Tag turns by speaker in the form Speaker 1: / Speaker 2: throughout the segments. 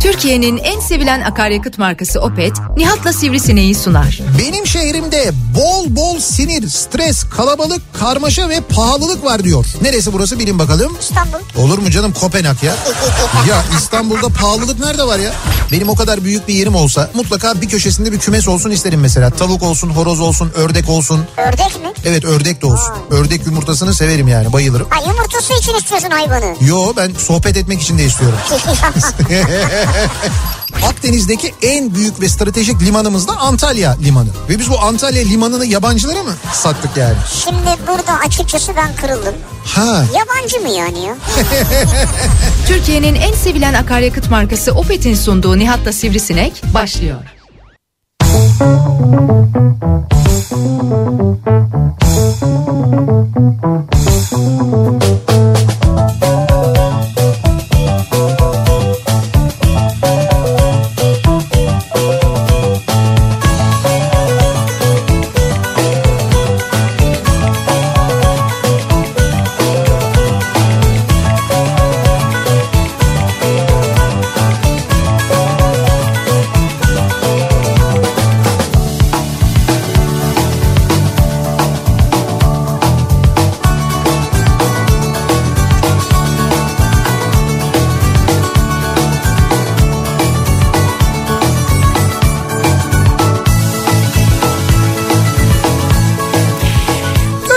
Speaker 1: Türkiye'nin en sevilen akaryakıt markası Opet, Nihat'la Sivrisineği sunar.
Speaker 2: Benim şehrimde bol bol sinir, stres, kalabalık, karmaşa ve pahalılık var diyor. Neresi burası bilin bakalım.
Speaker 3: İstanbul.
Speaker 2: Olur mu canım Kopenhag ya? ya İstanbul'da pahalılık nerede var ya? Benim o kadar büyük bir yerim olsa mutlaka bir köşesinde bir kümes olsun isterim mesela. Tavuk olsun, horoz olsun, ördek olsun.
Speaker 3: Ördek mi?
Speaker 2: Evet ördek de olsun. Ördek yumurtasını severim yani bayılırım.
Speaker 3: Ha yumurtası için istiyorsun hayvanı.
Speaker 2: Yo ben sohbet etmek için de istiyorum. Akdeniz'deki en büyük ve stratejik limanımız da Antalya Limanı. Ve biz bu Antalya Limanı'nı yabancılara mı sattık yani?
Speaker 3: Şimdi burada açıkçası ben kırıldım.
Speaker 2: Ha
Speaker 3: Yabancı mı yani ya?
Speaker 1: Türkiye'nin en sevilen akaryakıt markası Opet'in sunduğu Nihat'la Sivrisinek başlıyor.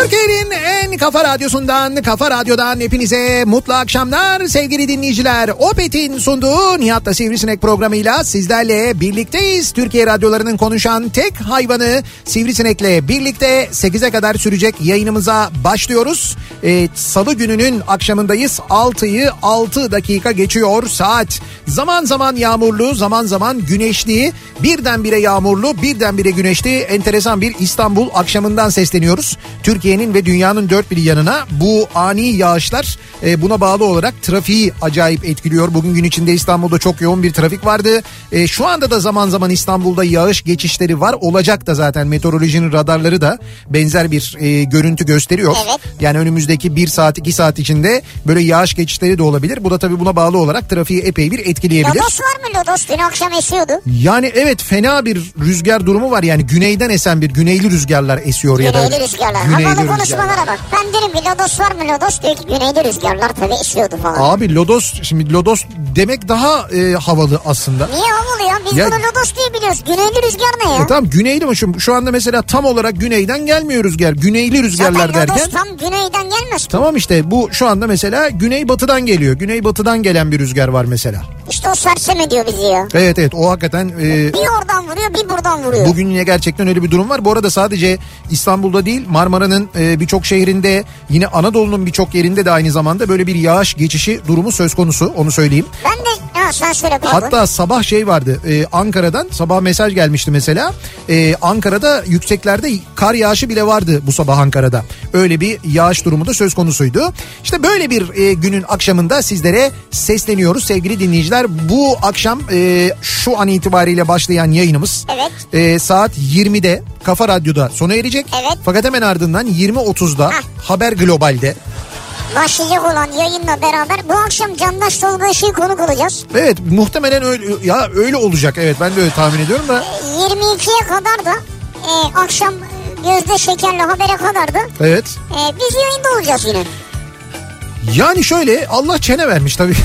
Speaker 2: Türkiye'nin en kafa radyosundan, kafa radyodan hepinize mutlu akşamlar sevgili dinleyiciler. Opet'in sunduğu Nihat'la Sivrisinek programıyla sizlerle birlikteyiz. Türkiye radyolarının konuşan tek hayvanı Sivrisinek'le birlikte 8'e kadar sürecek yayınımıza başlıyoruz. Ee, Salı gününün akşamındayız. 6'yı 6 dakika geçiyor saat. Zaman zaman yağmurlu, zaman zaman güneşli, birdenbire yağmurlu, birdenbire güneşli enteresan bir İstanbul akşamından sesleniyoruz. Türkiye'nin ve dünyanın dört bir yanına bu ani yağışlar e, buna bağlı olarak trafiği acayip etkiliyor. Bugün gün içinde İstanbul'da çok yoğun bir trafik vardı. E, şu anda da zaman zaman İstanbul'da yağış geçişleri var. Olacak da zaten meteorolojinin radarları da benzer bir e, görüntü gösteriyor.
Speaker 3: Evet.
Speaker 2: Yani önümüzdeki bir saat iki saat içinde böyle yağış geçişleri de olabilir. Bu da tabii buna bağlı olarak trafiği epey bir etkileyebilir.
Speaker 3: Lodos var mı Lodos? Dün akşam esiyordu.
Speaker 2: Yani evet fena bir rüzgar durumu var. Yani güneyden esen bir güneyli rüzgarlar esiyor ya da.
Speaker 3: Güneyli rüzgarlar.
Speaker 2: Güneyli
Speaker 3: Havalı
Speaker 2: rüzgarlar.
Speaker 3: konuşmalara bak. Ben derim ki Lodos var mı Lodos? Diyor ki güneyli rüzgarlar tabii esiyordu falan.
Speaker 2: Abi lodos şimdi lodos demek daha e, havalı aslında.
Speaker 3: Niye havalı ya? Biz
Speaker 2: Ya-
Speaker 3: bunu Lodos diye biliyoruz. Güneyli rüzgar ne ya?
Speaker 2: E tamam güneyli mi şu, şu anda mesela tam olarak güneyden gelmiyor rüzgar. Güneyli
Speaker 3: Zaten
Speaker 2: rüzgarlar
Speaker 3: Lodos
Speaker 2: derken
Speaker 3: tam güneyden gelmez.
Speaker 2: tamam işte bu şu anda mesela güneybatıdan geliyor. Güneybatıdan gelen bir rüzgar var mesela.
Speaker 3: İşte o serseme diyor bizi ya.
Speaker 2: Evet evet o hakikaten e,
Speaker 3: Bir oradan vuruyor bir buradan vuruyor.
Speaker 2: Bugün yine gerçekten öyle bir durum var. Bu arada sadece İstanbul'da değil Marmara'nın e, birçok şehrinde yine Anadolu'nun birçok yerinde de aynı zamanda böyle bir yağış geçişi durumu söz konusu onu söyleyeyim.
Speaker 3: Ben de ha, sen söyle pardon.
Speaker 2: Hatta sabah şey vardı e, Ankara'dan sabah mesaj gelmişti mesela E, Ankara'da yükseklerde kar yağışı bile vardı bu sabah Ankara'da öyle bir yağış durumu da söz konusuydu. İşte böyle bir e, günün akşamında sizlere sesleniyoruz sevgili dinleyiciler bu akşam e, şu an itibariyle başlayan yayınımız
Speaker 3: Evet.
Speaker 2: e, saat 20'de Kafa Radyo'da sona erecek
Speaker 3: Evet. Ah.
Speaker 2: fakat hemen ardından 20.30'da
Speaker 3: Hah.
Speaker 2: Haber Global'de
Speaker 3: Başlayacak olan yayınla beraber bu akşam Candaş Tolga Işık'ı konuk olacağız.
Speaker 2: evet muhtemelen öyle ya öyle olacak evet ben de öyle tahmin ediyorum da.
Speaker 3: 22'ye E, kadar da e, akşam Gözde Şeker'le habere kadar da
Speaker 2: Evet.
Speaker 3: e, biz yayında olacağız yine.
Speaker 2: Yani şöyle Allah çene vermiş tabii.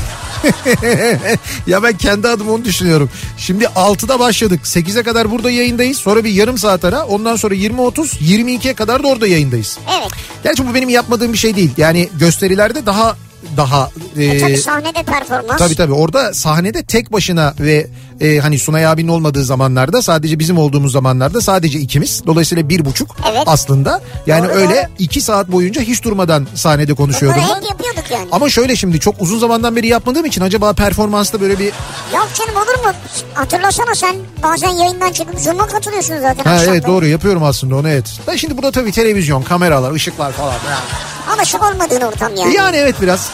Speaker 2: ya ben kendi adıma onu düşünüyorum. Şimdi 6'da başladık. 8'e kadar burada yayındayız. Sonra bir yarım saat ara. Ondan sonra 20.30, 22'ye kadar da orada yayındayız.
Speaker 3: Evet.
Speaker 2: Gerçi bu benim yapmadığım bir şey değil. Yani gösterilerde daha daha
Speaker 3: E,
Speaker 2: e,
Speaker 3: tabii sahnede performans.
Speaker 2: Tabii tabii orada sahnede tek başına ve e, hani Sunay abinin olmadığı zamanlarda sadece bizim olduğumuz zamanlarda sadece ikimiz. Dolayısıyla bir buçuk
Speaker 3: Evet.
Speaker 2: aslında. Yani
Speaker 3: Doğru,
Speaker 2: öyle
Speaker 3: doğru.
Speaker 2: iki saat boyunca hiç durmadan sahnede konuşuyordum
Speaker 3: Bunu
Speaker 2: ben.
Speaker 3: hep yapıyorduk yani.
Speaker 2: Ama şöyle şimdi çok uzun zamandan beri yapmadığım için acaba performansta böyle bir...
Speaker 3: Yok canım olur mu? Hatırlasana sen bazen yayından çıkıp Zoom'a katılıyorsun zaten.
Speaker 2: Ha
Speaker 3: akşamları.
Speaker 2: evet doğru yapıyorum aslında onu evet. Ben şimdi burada tabii televizyon, kameralar, ışıklar falan. Yani,
Speaker 3: Alışık olmadığın ortam yani.
Speaker 2: E, yani evet biraz.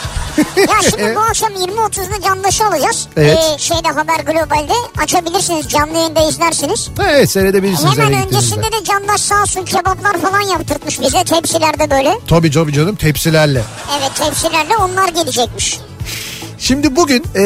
Speaker 3: Ya şimdi bu akşam 20.30'da canlışı alacağız.
Speaker 2: Evet.
Speaker 3: Ee, şeyde Haber Global'de açabilirsiniz canlı yayında izlersiniz.
Speaker 2: evet seyredebilirsiniz. eve
Speaker 3: Hemen
Speaker 2: gittiğinizde.
Speaker 3: öncesinde de candaş sağ olsun kebaplar falan yaptırtmış bize tepsilerde böyle.
Speaker 2: Tabii tabii canım tepsilerle.
Speaker 3: Evet tepsilerle onlar gelecekmiş.
Speaker 2: Şimdi bugün eee,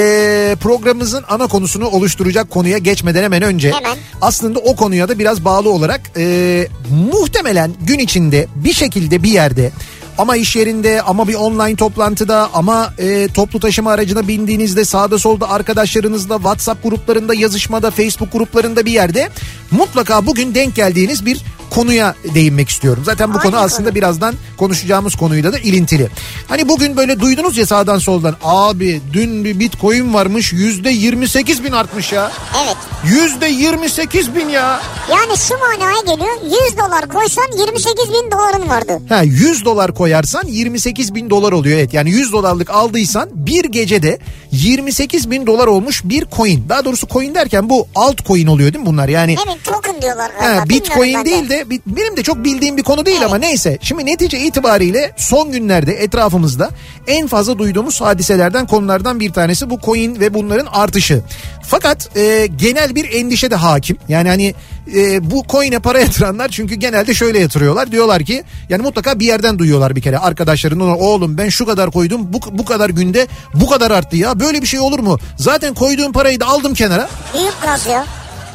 Speaker 2: programımızın ana konusunu oluşturacak konuya geçmeden hemen önce
Speaker 3: Hemen.
Speaker 2: aslında o konuya da biraz bağlı olarak eee, muhtemelen gün içinde bir şekilde bir yerde ama iş yerinde ama bir online toplantıda ama eee, toplu taşıma aracına bindiğinizde sağda solda arkadaşlarınızla WhatsApp gruplarında yazışmada Facebook gruplarında bir yerde mutlaka bugün denk geldiğiniz bir konuya değinmek istiyorum. Zaten bu
Speaker 3: Hangi
Speaker 2: konu
Speaker 3: konu?
Speaker 2: aslında birazdan konuşacağımız konuyla da ilintili. Hani bugün böyle duydunuz ya sağdan soldan abi dün bir bitcoin varmış yüzde 28 bin artmış ya.
Speaker 3: Evet.
Speaker 2: Yüzde 28 bin ya.
Speaker 3: Yani şu manaya geliyor 100 dolar koysan 28 bin doların vardı.
Speaker 2: Ha 100 dolar koyarsan 28 bin dolar oluyor evet. Yani 100 dolarlık aldıysan bir gecede 28 bin dolar olmuş bir coin. Daha doğrusu coin derken bu altcoin oluyor değil mi bunlar? Yani
Speaker 3: Evet token diyorlar
Speaker 2: Ha,
Speaker 3: galiba.
Speaker 2: Bitcoin
Speaker 3: bilmiyorum ben de.
Speaker 2: değil de bit- benim de çok bildiğim bir konu değil ama neyse. Şimdi netice itibariyle son günlerde etrafımızda en fazla duyduğumuz hadiselerden konulardan bir tanesi bu coin ve bunların artışı. Fakat e, genel bir endişe de hakim. Yani hani e, bu coin'e para yatıranlar çünkü genelde şöyle yatırıyorlar. Diyorlar ki yani mutlaka bir yerden duyuyorlar bir kere arkadaşlarından oğlum ben şu kadar koydum bu, bu kadar günde bu kadar arttı ya böyle bir şey olur mu? Zaten koyduğum parayı da aldım kenara.
Speaker 3: Büyük gaz ya.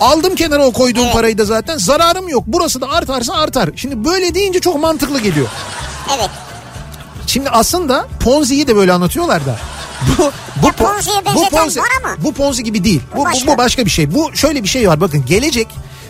Speaker 2: Aldım kenara o koyduğum parayı da zaten. Zararım yok. Burası da artarsa artar. Şimdi böyle deyince çok mantıklı geliyor.
Speaker 3: Evet.
Speaker 2: Şimdi aslında Ponzi'yi de böyle anlatıyorlar da. Bu, bu, pon-
Speaker 3: Ponzi'ye benzeten var ama.
Speaker 2: bu Ponzi gibi değil. Bu, bu, bu başka.
Speaker 3: başka.
Speaker 2: bir şey. Bu şöyle bir şey var bakın gelecek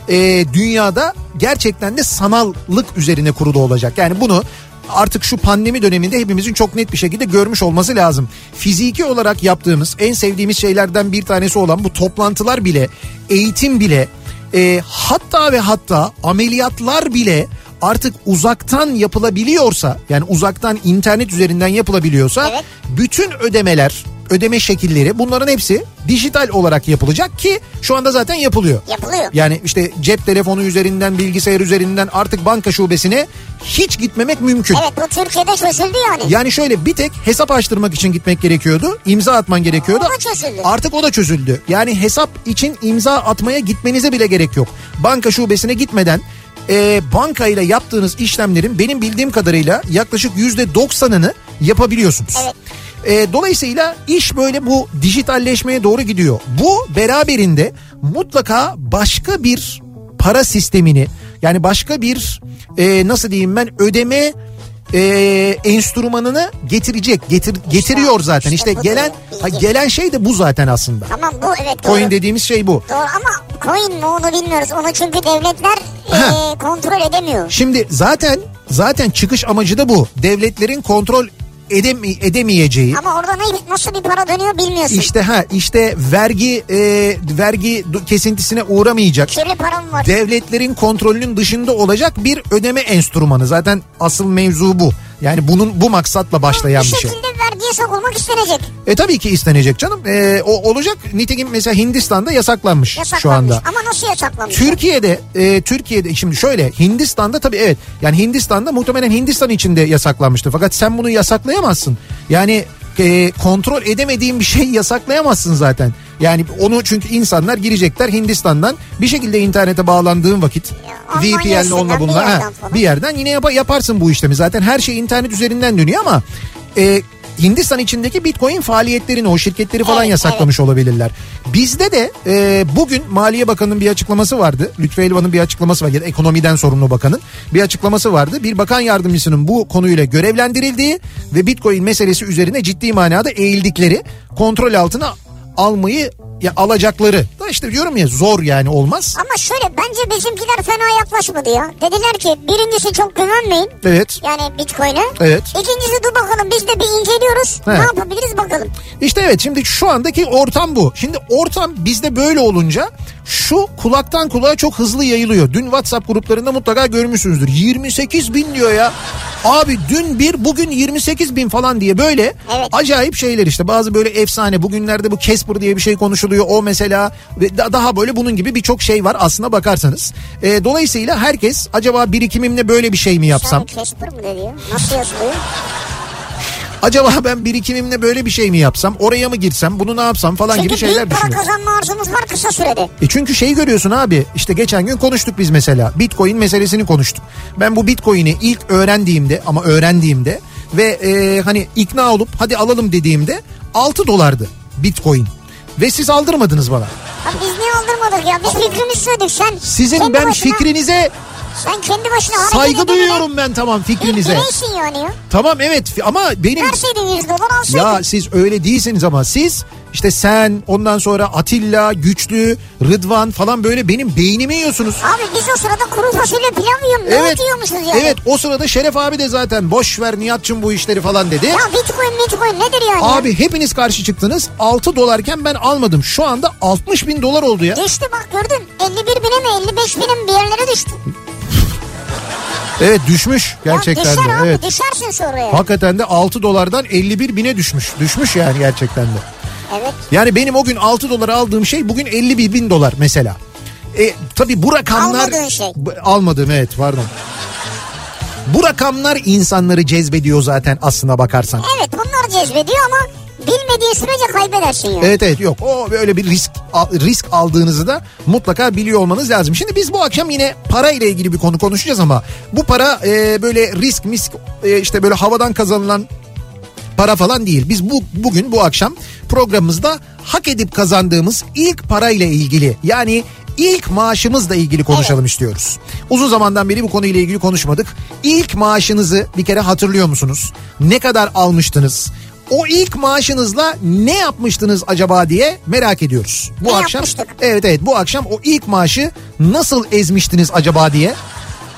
Speaker 2: e, dünyada gerçekten de sanallık üzerine kurulu olacak. Yani bunu artık şu pandemi döneminde hepimizin çok net bir şekilde görmüş olması lazım. Fiziki olarak yaptığımız en sevdiğimiz şeylerden bir tanesi olan bu toplantılar bile, eğitim bile, e, hatta ve hatta ameliyatlar bile artık uzaktan yapılabiliyorsa yani uzaktan internet üzerinden yapılabiliyorsa
Speaker 3: Evet.
Speaker 2: bütün ödemeler ödeme şekilleri bunların hepsi dijital olarak yapılacak ki şu anda zaten yapılıyor.
Speaker 3: Yapılıyor.
Speaker 2: Yani işte cep telefonu üzerinden bilgisayar üzerinden artık banka şubesine hiç gitmemek mümkün.
Speaker 3: Evet bu Türkiye'de çözüldü yani.
Speaker 2: Yani şöyle bir tek hesap açtırmak için gitmek gerekiyordu. imza atman gerekiyordu.
Speaker 3: O da çözüldü.
Speaker 2: Artık o da çözüldü. Yani hesap için imza atmaya gitmenize bile gerek yok. Banka şubesine gitmeden e, bankayla yaptığınız işlemlerin benim bildiğim kadarıyla yaklaşık yüzde doksanını yapabiliyorsunuz.
Speaker 3: Evet.
Speaker 2: E, dolayısıyla iş böyle bu dijitalleşmeye doğru gidiyor. Bu beraberinde mutlaka başka bir para sistemini yani başka bir e, nasıl diyeyim ben ödeme e, enstrümanını getirecek getir, getiriyor zaten
Speaker 3: işte
Speaker 2: işte
Speaker 3: bu
Speaker 2: gelen
Speaker 3: bilgi.
Speaker 2: ha, gelen şey de bu zaten aslında
Speaker 3: Tamam bu evet doğru.
Speaker 2: coin dediğimiz şey bu.
Speaker 3: Doğru ama coin mi onu bilmiyoruz. Onu çünkü devletler
Speaker 2: Ha.
Speaker 3: e, kontrol edemiyor.
Speaker 2: Şimdi zaten zaten çıkış amacı da bu devletlerin kontrol edemi, edemeyeceği
Speaker 3: Ama orada ne, nasıl bir para dönüyor bilmiyorsun.
Speaker 2: işte ha işte vergi e, vergi du- kesintisine uğramayacak
Speaker 3: Kirli param var.
Speaker 2: devletlerin kontrolünün dışında olacak bir ödeme enstrümanı. Zaten asıl mevzu bu. Yani bunun bu maksatla başlayan bir şey.
Speaker 3: şekilde vergiye sokulmak istenecek.
Speaker 2: E tabii ki istenecek canım. E, o olacak. Nitekim mesela Hindistan'da yasaklanmış,
Speaker 3: Yasaklanmış.
Speaker 2: şu anda.
Speaker 3: Ama nasıl yasaklanmış?
Speaker 2: Türkiye'de e, Türkiye'de şimdi şöyle Hindistan'da tabii evet yani Hindistan'da muhtemelen Hindistan içinde yasaklanmıştı. Fakat sen bunu yasaklayamazsın. Yani e, kontrol edemediğin bir şeyi yasaklayamazsın zaten. Yani onu çünkü insanlar girecekler Hindistan'dan bir şekilde internete bağlandığın vakit
Speaker 3: Almanya
Speaker 2: VPN'le onunla
Speaker 3: üstünden, bir
Speaker 2: bununla ha,
Speaker 3: yerden falan.
Speaker 2: bir yerden yine yapa- yaparsın bu işlemi. Zaten her şey internet üzerinden dönüyor ama e, Hindistan içindeki Bitcoin faaliyetlerini o şirketleri falan
Speaker 3: Evet,
Speaker 2: yasaklamış olabilirler. Bizde de e, bugün Maliye Bakanı'nın bir açıklaması vardı. Lütfü Elvan'ın bir açıklaması var. Ya da ekonomiden sorumlu bakanın bir açıklaması vardı. Bir bakan yardımcısının bu konuyla görevlendirildiği ve Bitcoin meselesi üzerine ciddi manada eğildikleri kontrol altına almayı ya alacakları. Da işte diyorum ya zor yani olmaz.
Speaker 3: Ama şöyle bence bizimkiler fena yaklaşmadı ya. Dediler ki birincisi çok güvenmeyin.
Speaker 2: Evet.
Speaker 3: Yani Bitcoin'e.
Speaker 2: Evet.
Speaker 3: İkincisi dur bakalım biz de bir inceliyoruz.
Speaker 2: He.
Speaker 3: Ne yapabiliriz bakalım.
Speaker 2: İşte evet şimdi şu andaki ortam bu. Şimdi ortam bizde böyle olunca şu kulaktan kulağa çok hızlı yayılıyor. Dün WhatsApp gruplarında mutlaka görmüşsünüzdür. 28 bin diyor ya. Abi dün bir bugün 28 bin falan diye böyle
Speaker 3: Evet.
Speaker 2: acayip şeyler işte. Bazı böyle efsane bugünlerde bu Casper diye bir şey konuşuluyor. O mesela ve da- daha böyle bunun gibi birçok şey var aslına bakarsanız. Ee, dolayısıyla herkes acaba birikimimle böyle bir şey mi yapsam?
Speaker 3: Sen Casper mı dedi ya? Nasıl yazılıyor?
Speaker 2: Acaba ben birikimimle böyle bir şey mi yapsam? Oraya mı girsem? Bunu ne yapsam falan gibi
Speaker 3: Çünkü
Speaker 2: şeyler
Speaker 3: büyük para
Speaker 2: düşünüyorum.
Speaker 3: kazanma arzumuz var kısa sürede.
Speaker 2: E çünkü şeyi görüyorsun abi işte geçen gün konuştuk biz mesela bitcoin meselesini konuştuk. Ben bu bitcoin'i ilk öğrendiğimde ama öğrendiğimde ve e, hani ikna olup hadi alalım dediğimde 6 dolardı bitcoin. Ve siz aldırmadınız bana.
Speaker 3: Abi biz niye aldırmadık ya? Biz fikrimizi söyledik sen.
Speaker 2: Sizin
Speaker 3: kendi
Speaker 2: ben
Speaker 3: başına, şey
Speaker 2: fikrinize
Speaker 3: Sen kendi başına hareket
Speaker 2: saygı
Speaker 3: edemedin.
Speaker 2: duyuyorum ben tamam
Speaker 3: Bir
Speaker 2: fikrinize.
Speaker 3: bireysin yani ya.
Speaker 2: Tamam evet fi- ama benim
Speaker 3: Verseydin 100 dolar alsaydın.
Speaker 2: ya siz öyle değilsiniz ama siz işte sen ondan sonra Atilla, Güçlü, Rıdvan falan böyle benim beynimi yiyorsunuz.
Speaker 3: Abi biz o sırada kuru fasulye pilav yiyorum. Ne evet. diyormuşuz yani?
Speaker 2: Evet o sırada Şeref abi de zaten boş ver Nihat'cığım bu işleri falan dedi.
Speaker 3: Ya bitcoin bitcoin nedir yani?
Speaker 2: Abi hepiniz karşı çıktınız. 6 dolarken ben almadım. Şu anda 60 bin dolar oldu ya.
Speaker 3: Düştü bak gördün. 51 bine mi 55 bine mi bir yerlere düştü.
Speaker 2: Evet düşmüş
Speaker 3: ya
Speaker 2: gerçekten de.
Speaker 3: düşer abi
Speaker 2: Evet.
Speaker 3: düşersin sonra ya.
Speaker 2: Hakikaten de 6 dolardan 51 bine düşmüş. Düşmüş yani gerçekten de.
Speaker 3: Evet.
Speaker 2: Yani benim o gün 6 dolara aldığım şey bugün 51 bin dolar mesela. E, tabii bu rakamlar...
Speaker 3: Almadığın şey.
Speaker 2: B- Almadım evet pardon. Bu rakamlar insanları cezbediyor zaten aslına bakarsan.
Speaker 3: Evet bunlar cezbediyor ama bilmediğin sürece kaybedersin yani.
Speaker 2: Evet evet yok o böyle bir risk al- risk aldığınızı da mutlaka biliyor olmanız lazım. Şimdi biz bu akşam yine para ile ilgili bir konu konuşacağız ama bu para e, böyle risk misk e, işte böyle havadan kazanılan para falan değil. Biz bu bugün bu akşam programımızda hak edip kazandığımız ilk parayla ilgili yani ilk maaşımızla ilgili konuşalım istiyoruz. Uzun zamandan beri bu konuyla ilgili konuşmadık. İlk maaşınızı bir kere hatırlıyor musunuz? Ne kadar almıştınız? O ilk maaşınızla ne yapmıştınız acaba diye merak ediyoruz. Bu
Speaker 3: Ne
Speaker 2: akşam
Speaker 3: yapmıştık?
Speaker 2: Evet evet bu akşam o ilk maaşı nasıl ezmiştiniz acaba diye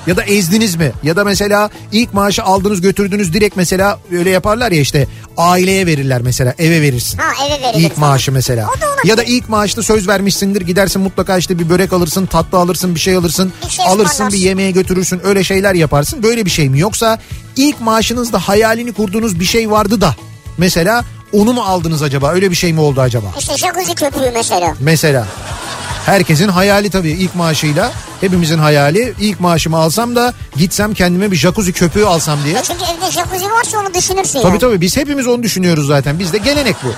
Speaker 2: ya da ezdiniz mi? Ya da mesela ilk maaşı aldınız götürdünüz direkt mesela öyle yaparlar ya işte aileye verirler mesela eve verirsin.
Speaker 3: Ha eve verilir.
Speaker 2: İlk maaşı mesela.
Speaker 3: O da olabilir.
Speaker 2: Ya da ilk maaşta söz vermişsindir gidersin mutlaka işte bir börek alırsın tatlı alırsın bir şey alırsın.
Speaker 3: Bir şey
Speaker 2: alırsın bir
Speaker 3: ısmarlarsın.
Speaker 2: yemeğe götürürsün öyle şeyler yaparsın böyle bir şey mi? Yoksa ilk maaşınızda hayalini kurduğunuz bir şey vardı da mesela onu mu aldınız acaba öyle bir şey mi oldu acaba?
Speaker 3: İşte jacuzzi köpüğü mesela.
Speaker 2: Mesela herkesin hayali tabii ilk maaşıyla hepimizin hayali ilk maaşımı alsam da gitsem kendime bir jacuzzi köpüğü alsam diye.
Speaker 3: E çünkü evde jacuzzi varsa onu düşünürsün
Speaker 2: Tabii
Speaker 3: yani.
Speaker 2: tabii biz hepimiz onu düşünüyoruz zaten bizde gelenek bu.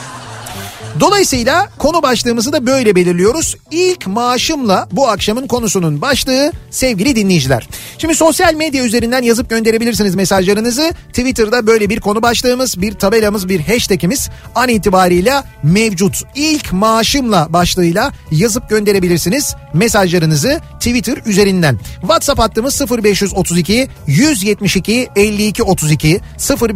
Speaker 2: Dolayısıyla konu başlığımızı da böyle belirliyoruz. İlk maaşımla bu akşamın konusunun başlığı sevgili dinleyiciler. Şimdi sosyal medya üzerinden yazıp gönderebilirsiniz mesajlarınızı. Twitter'da böyle bir konu başlığımız, bir tabelamız, bir hashtagimiz an itibariyle mevcut. İlk maaşımla başlığıyla yazıp gönderebilirsiniz mesajlarınızı Twitter üzerinden. WhatsApp hattımız 0532 172 52 32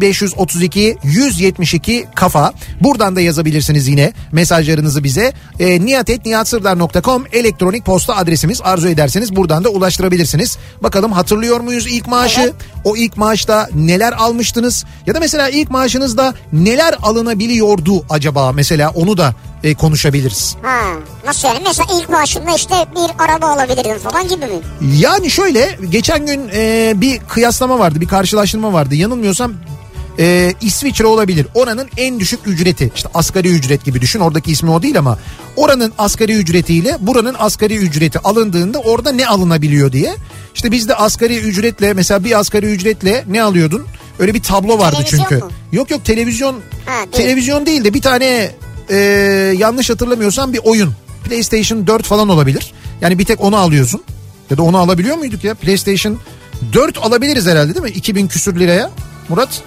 Speaker 2: 0532 172 kafa. Buradan da yazabilirsiniz yine mesajlarınızı bize. E, niyatetniyatsırdar.com elektronik posta adresimiz arzu ederseniz buradan da ulaştırabilirsiniz. Bakalım hatırlıyor muyuz ilk maaşı?
Speaker 3: Evet.
Speaker 2: O ilk maaşta neler almıştınız? Ya da mesela ilk maaşınızda neler alınabiliyordu acaba? Mesela onu da e, konuşabiliriz.
Speaker 3: Ha, nasıl yani? Mesela ilk maaşımda işte bir araba alabilirdim falan gibi mi?
Speaker 2: Yani şöyle geçen gün e, bir kıyaslama vardı bir karşılaştırma vardı yanılmıyorsam e, İsviçre olabilir oranın en düşük ücreti işte asgari ücret gibi düşün oradaki ismi o değil ama oranın asgari ücretiyle buranın asgari ücreti alındığında orada ne alınabiliyor diye işte bizde asgari ücretle mesela bir asgari ücretle ne alıyordun öyle bir tablo vardı
Speaker 3: Televizyon
Speaker 2: çünkü
Speaker 3: mu?
Speaker 2: yok yok televizyon
Speaker 3: değil.
Speaker 2: televizyon değil de bir tane e, yanlış hatırlamıyorsam bir oyun PlayStation 4 falan olabilir yani bir tek onu alıyorsun ya da onu alabiliyor muyduk ya? PlayStation 4 alabiliriz herhalde değil mi? 2000 küsür liraya. Murat?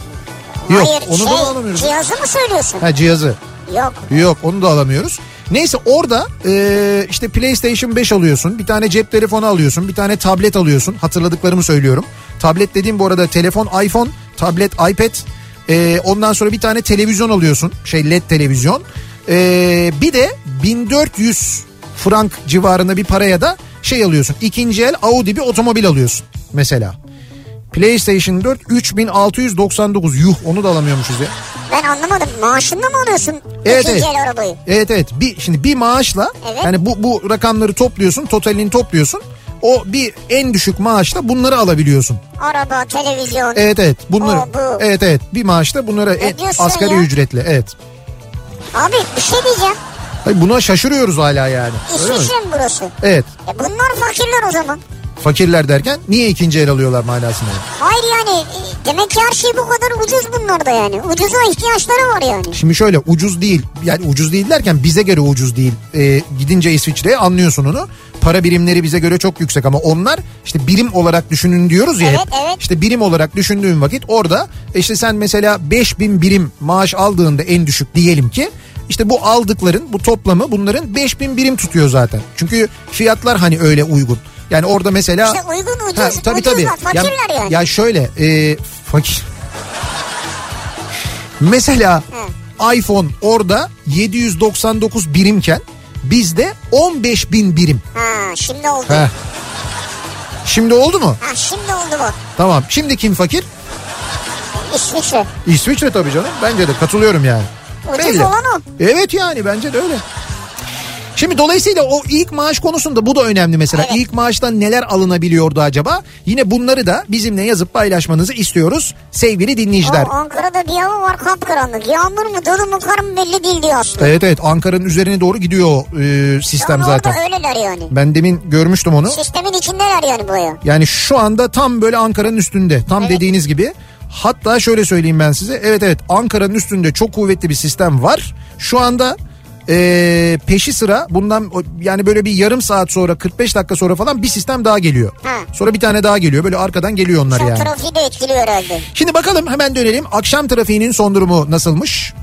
Speaker 2: Yok
Speaker 3: Hayır,
Speaker 2: onu
Speaker 3: şey,
Speaker 2: da mı alamıyoruz?
Speaker 3: Cihazı mı söylüyorsun?
Speaker 2: Ha cihazı.
Speaker 3: Yok.
Speaker 2: Yok onu da alamıyoruz. Neyse orada e, işte PlayStation 5 alıyorsun. Bir tane cep telefonu alıyorsun. Bir tane tablet alıyorsun. Hatırladıklarımı söylüyorum. Tablet dediğim bu arada telefon iPhone, tablet iPad. E, ondan sonra bir tane televizyon alıyorsun. Şey LED televizyon. E, bir de 1400 frank civarında bir paraya da şey alıyorsun. İkinci el Audi bir otomobil alıyorsun mesela. PlayStation 4 3699 yuh onu da alamıyormuşuz ya.
Speaker 3: Ben anlamadım. Maaşınla mı alıyorsun
Speaker 2: Evet,
Speaker 3: ikinci
Speaker 2: evet.
Speaker 3: el arabayı?
Speaker 2: Evet evet. Bir şimdi bir maaşla
Speaker 3: Evet.
Speaker 2: yani bu bu rakamları topluyorsun, totalini topluyorsun. O bir en düşük maaşla bunları alabiliyorsun.
Speaker 3: Araba, televizyon.
Speaker 2: Evet evet. Bunları.
Speaker 3: Aa, bu.
Speaker 2: Evet evet. Bir maaşla bunları e,
Speaker 3: diyorsun
Speaker 2: asgari
Speaker 3: ya?
Speaker 2: ücretle. Evet.
Speaker 3: Abi bir şey diyeceğim.
Speaker 2: Hayır, buna şaşırıyoruz hala yani. Öyle mi?
Speaker 3: İsviçre mi burası?
Speaker 2: Evet.
Speaker 3: E bunlar fakirler o zaman.
Speaker 2: Fakirler derken niye ikinci el alıyorlar manasında?
Speaker 3: Hayır yani e, demek ki her şey bu kadar ucuz bunlarda yani. Ucuza ihtiyaçları var yani.
Speaker 2: Şimdi şöyle ucuz değil yani ucuz değil derken bize göre ucuz değil. Ee, gidince İsviçre'ye anlıyorsun onu. Para birimleri bize göre çok yüksek ama onlar işte birim olarak düşünün diyoruz ya.
Speaker 3: Evet,
Speaker 2: hep.
Speaker 3: evet.
Speaker 2: İşte birim olarak düşündüğün vakit orada işte sen mesela 5000 birim maaş aldığında en düşük diyelim ki işte bu aldıkların bu toplamı bunların 5000 birim tutuyor zaten. Çünkü fiyatlar hani öyle uygun. Yani orada mesela
Speaker 3: İşte uygun, ucuz,
Speaker 2: tabii,
Speaker 3: ucuzlar,
Speaker 2: tabii.
Speaker 3: fakirler
Speaker 2: ya,
Speaker 3: yani.
Speaker 2: Ya şöyle e, fakir Mesela iPhone orada 799 birimken bizde 15 bin birim.
Speaker 3: Ha şimdi oldu.
Speaker 2: Heh. Şimdi oldu mu?
Speaker 3: Ha şimdi oldu bu.
Speaker 2: Tamam. Şimdi kim fakir?
Speaker 3: İsviçre.
Speaker 2: İsviçre tabii canım. Bence de katılıyorum yani.
Speaker 3: Ucuz olan o.
Speaker 2: Evet yani bence de öyle. Şimdi dolayısıyla o ilk maaş konusunda bu da önemli mesela.
Speaker 3: Evet.
Speaker 2: İlk maaştan neler alınabiliyordu acaba? Yine bunları da bizimle yazıp paylaşmanızı istiyoruz sevgili dinleyiciler.
Speaker 3: Aa, Ankara'da bir hava var kapkaranlık. Yağmur mu dolu mu kar mı belli değil diyor aslında.
Speaker 2: Evet evet Ankara'nın üzerine doğru gidiyor o, e, sistem
Speaker 3: Ama
Speaker 2: zaten.
Speaker 3: orada öyleler yani.
Speaker 2: Ben demin görmüştüm onu.
Speaker 3: Sistemin içindeler yani bu ya.
Speaker 2: Yani şu anda tam böyle Ankara'nın üstünde. Tam dediğiniz gibi. Hatta şöyle söyleyeyim ben size. Evet evet Ankara'nın üstünde çok kuvvetli bir sistem var. Şu anda eee, peşi sıra bundan o- yani böyle bir yarım saat sonra 45 dakika sonra falan bir sistem daha geliyor.
Speaker 3: Ha.
Speaker 2: Sonra bir tane daha geliyor. Böyle arkadan geliyor onlar
Speaker 3: Çok
Speaker 2: yani.
Speaker 3: trafiği de etkiliyor herhalde.
Speaker 2: Şimdi bakalım hemen dönelim. Akşam trafiğinin son durumu nasılmış?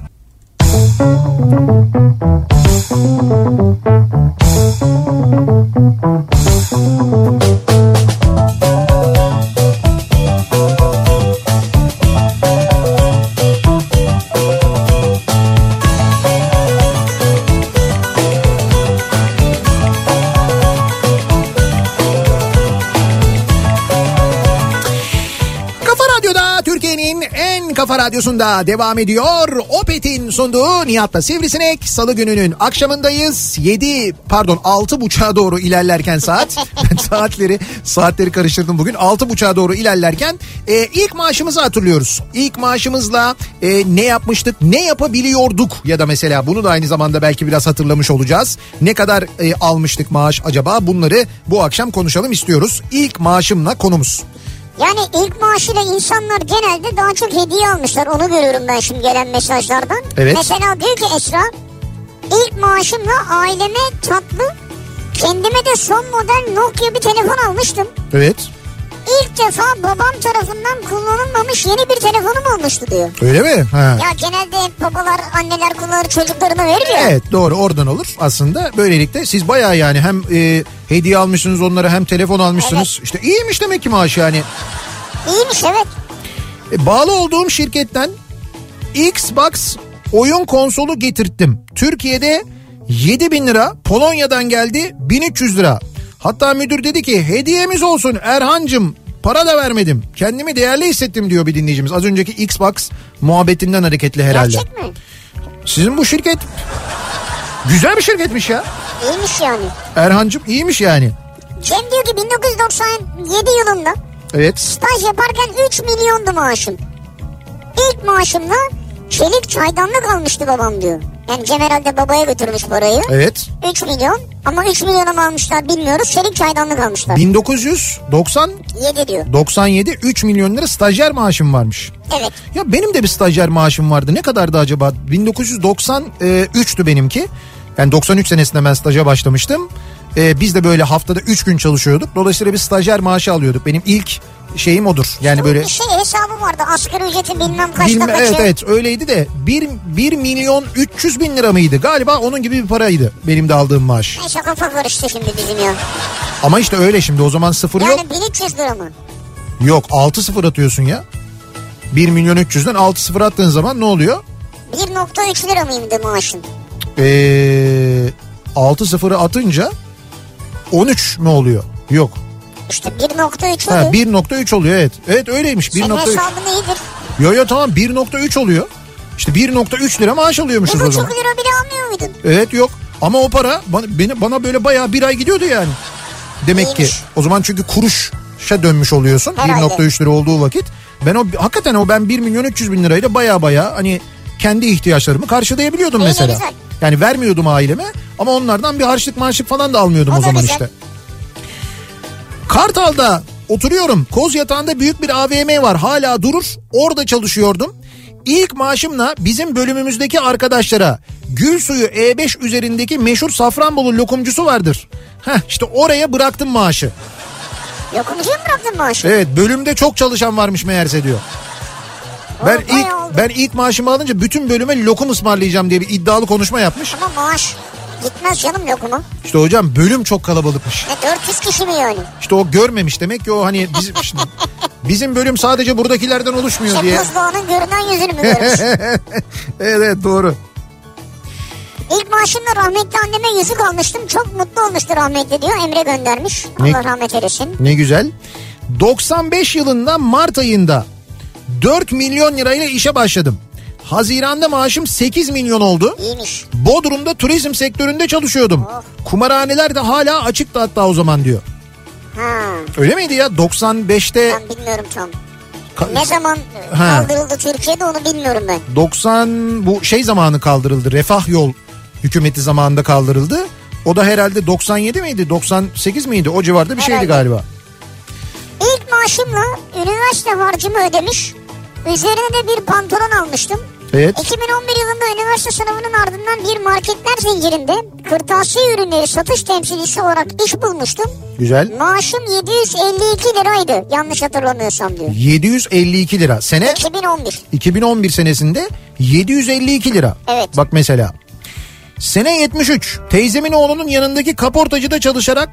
Speaker 2: Kafa Radyo'da Türkiye'nin en kafa radyosunda devam ediyor. Opet'in sunduğu Nihat'la Sivrisinek. Salı gününün akşamındayız. 7 pardon 6 buçuğa doğru ilerlerken saat. Ben saatleri saatleri karıştırdım bugün. 6 buçuğa doğru ilerlerken e, ilk maaşımızı hatırlıyoruz. İlk maaşımızla e, ne yapmıştık ne yapabiliyorduk ya da mesela bunu da aynı zamanda belki biraz hatırlamış olacağız. Ne kadar e, almıştık maaş acaba bunları bu akşam konuşalım istiyoruz. İlk maaşımla konumuz.
Speaker 3: Yani ilk maaşıyla insanlar genelde daha çok hediye almışlar. Onu görüyorum ben şimdi gelen mesajlardan.
Speaker 2: Evet.
Speaker 3: Mesela diyor ki Esra ilk maaşımla aileme tatlı kendime de son model Nokia bir telefon almıştım.
Speaker 2: Evet.
Speaker 3: İlk defa babam tarafından kullanılmamış yeni bir telefonum olmuştu diyor.
Speaker 2: Öyle mi? Ha.
Speaker 3: Ya genelde hep babalar anneler kullanır çocuklarına verir ya.
Speaker 2: Evet doğru oradan olur aslında. Böylelikle siz bayağı yani hem e, hediye almışsınız onlara hem telefon almışsınız. İşte iyiymiş demek ki maaş yani.
Speaker 3: İyiymiş evet.
Speaker 2: E, bağlı olduğum şirketten Xbox oyun konsolu getirttim. Türkiye'de 7 bin lira Polonya'dan geldi 1300 lira. Hatta müdür dedi ki hediyemiz olsun Erhancım para da vermedim. Kendimi değerli hissettim diyor bir dinleyicimiz. Az önceki Xbox muhabbetinden hareketli herhalde.
Speaker 3: Gerçek mi?
Speaker 2: Sizin bu şirket güzel bir şirketmiş ya.
Speaker 3: İyiymiş yani.
Speaker 2: Erhancım iyiymiş yani.
Speaker 3: Cem diyor ki 1997 yılında
Speaker 2: Evet.
Speaker 3: staj yaparken 3 milyondu maaşım. İlk maaşımla çelik çaydanlık almıştı babam diyor. Yani Cem herhalde babaya götürmüş parayı.
Speaker 2: Evet.
Speaker 3: 3 milyon ama 3 milyona mı almışlar bilmiyoruz. Çelik çaydanlık almışlar.
Speaker 2: 1990
Speaker 3: 7 diyor.
Speaker 2: 97 3 milyon lira stajyer maaşım varmış.
Speaker 3: Evet.
Speaker 2: Ya benim de bir stajyer maaşım vardı. Ne kadardı acaba? 1993'tü e, benimki. Yani 93 senesinde ben staja başlamıştım. E, biz de böyle haftada 3 gün çalışıyorduk. Dolayısıyla bir stajyer maaşı alıyorduk. Benim ilk şeyim odur. Yani
Speaker 3: Bunun
Speaker 2: böyle
Speaker 3: Bir şey hesabı vardı. Asgari ücreti bilmem kaçta
Speaker 2: Bilme-
Speaker 3: kaçı.
Speaker 2: evet evet öyleydi de 1, 1 milyon 300 bin lira mıydı? Galiba onun gibi bir paraydı benim de aldığım maaş.
Speaker 3: Neyse kafa karıştı şimdi bizim ya.
Speaker 2: Ama işte öyle şimdi o zaman sıfır yok.
Speaker 3: Yani 1300 lira mı?
Speaker 2: Yok 6 sıfır atıyorsun ya. 1 milyon 300'den 6 sıfır attığın zaman ne oluyor?
Speaker 3: 1.3 lira mıydı maaşın?
Speaker 2: Ee, 6 sıfırı atınca 13 mü oluyor? Yok.
Speaker 3: İşte 1.3
Speaker 2: Ha,
Speaker 3: oluyor.
Speaker 2: 1.3 oluyor evet. Evet öyleymiş
Speaker 3: Senin
Speaker 2: 1.3.
Speaker 3: hesabın iyidir.
Speaker 2: Yo yo tamam 1.3 oluyor. İşte 1.3 lira maaş alıyormuşuz o
Speaker 3: 1.5
Speaker 2: zaman.
Speaker 3: lira bile almıyor muydun?
Speaker 2: Evet yok. Ama o para bana, beni, bana böyle bayağı bir ay gidiyordu yani. Demek ki
Speaker 3: İyiymiş.
Speaker 2: o zaman çünkü kuruşa dönmüş oluyorsun.
Speaker 3: Herhalde.
Speaker 2: 1.3 lira olduğu vakit. Ben o hakikaten o ben 1 milyon 300 bin lirayla bayağı bayağı hani kendi ihtiyaçlarımı karşılayabiliyordum
Speaker 3: İyi, ne
Speaker 2: mesela.
Speaker 3: güzel.
Speaker 2: Yani vermiyordum aileme ama onlardan bir harçlık maaşlık falan da almıyordum o,
Speaker 3: O da
Speaker 2: zaman
Speaker 3: güzel.
Speaker 2: işte. Kartal'da oturuyorum. Koz yatağında büyük bir AVM var. Hala durur. Orada çalışıyordum. İlk maaşımla bizim bölümümüzdeki arkadaşlara Gül Suyu E5 üzerindeki meşhur Safranbolu lokumcusu vardır. Heh işte oraya bıraktım maaşı.
Speaker 3: Lokumcuya mı bıraktın maaşı?
Speaker 2: Evet bölümde çok çalışan varmış meğerse diyor. Ben
Speaker 3: Oğlum,
Speaker 2: ilk
Speaker 3: bayağı oldu.
Speaker 2: ben ilk maaşımı alınca bütün bölüme lokum ısmarlayacağım diye bir iddialı konuşma yapmış.
Speaker 3: Ama maaş gitmez canım lokumu.
Speaker 2: İşte hocam bölüm çok kalabalıkmış.
Speaker 3: E 400 kişi mi yani?
Speaker 2: İşte o görmemiş demek ki o hani bizim şimdi bizim bölüm sadece buradakilerden oluşmuyor
Speaker 3: İşte
Speaker 2: diye.
Speaker 3: buzdağının Şey, görünen yüzünü mü görmüş?
Speaker 2: evet evet, doğru.
Speaker 3: İlk maaşımla rahmetli anneme yüzük almıştım. Çok mutlu olmuştu rahmetli diyor. Emre göndermiş.
Speaker 2: Ne-
Speaker 3: Allah rahmet eylesin.
Speaker 2: Ne güzel. 95 yılında Mart ayında 4 milyon lirayla işe başladım. Haziranda maaşım 8 milyon oldu.
Speaker 3: İyiymiş.
Speaker 2: Bodrum'da turizm sektöründe çalışıyordum. Kumarhaneler de hala açıktı hatta o zaman diyor.
Speaker 3: Ha,
Speaker 2: Öyle miydi ya? 95'te
Speaker 3: ben bilmiyorum tam.
Speaker 2: ka-
Speaker 3: Ne zaman
Speaker 2: Ha.
Speaker 3: kaldırıldı Türkiye'de onu bilmiyorum ben.
Speaker 2: 90 bu şey zamanı kaldırıldı. Refah yol hükümeti zamanında kaldırıldı. O da herhalde 97 miydi? 98 miydi? O civarda bir şeydi
Speaker 3: Herhalde.
Speaker 2: galiba.
Speaker 3: İlk maaşımla üniversite harcımı ödemiş. Üzerine de bir pantolon almıştım.
Speaker 2: Evet.
Speaker 3: 2011 yılında üniversite sınavının ardından bir marketler zincirinde kırtasiye ürünleri satış temsilcisi olarak iş bulmuştum.
Speaker 2: Güzel.
Speaker 3: Maaşım 752 liraydı yanlış hatırlamıyorsam diyor.
Speaker 2: 752 lira. Sene
Speaker 3: 2011.
Speaker 2: 2011 senesinde 752 lira.
Speaker 3: Evet.
Speaker 2: Bak mesela. Sene 73 teyzemin oğlunun yanındaki kaportacıda çalışarak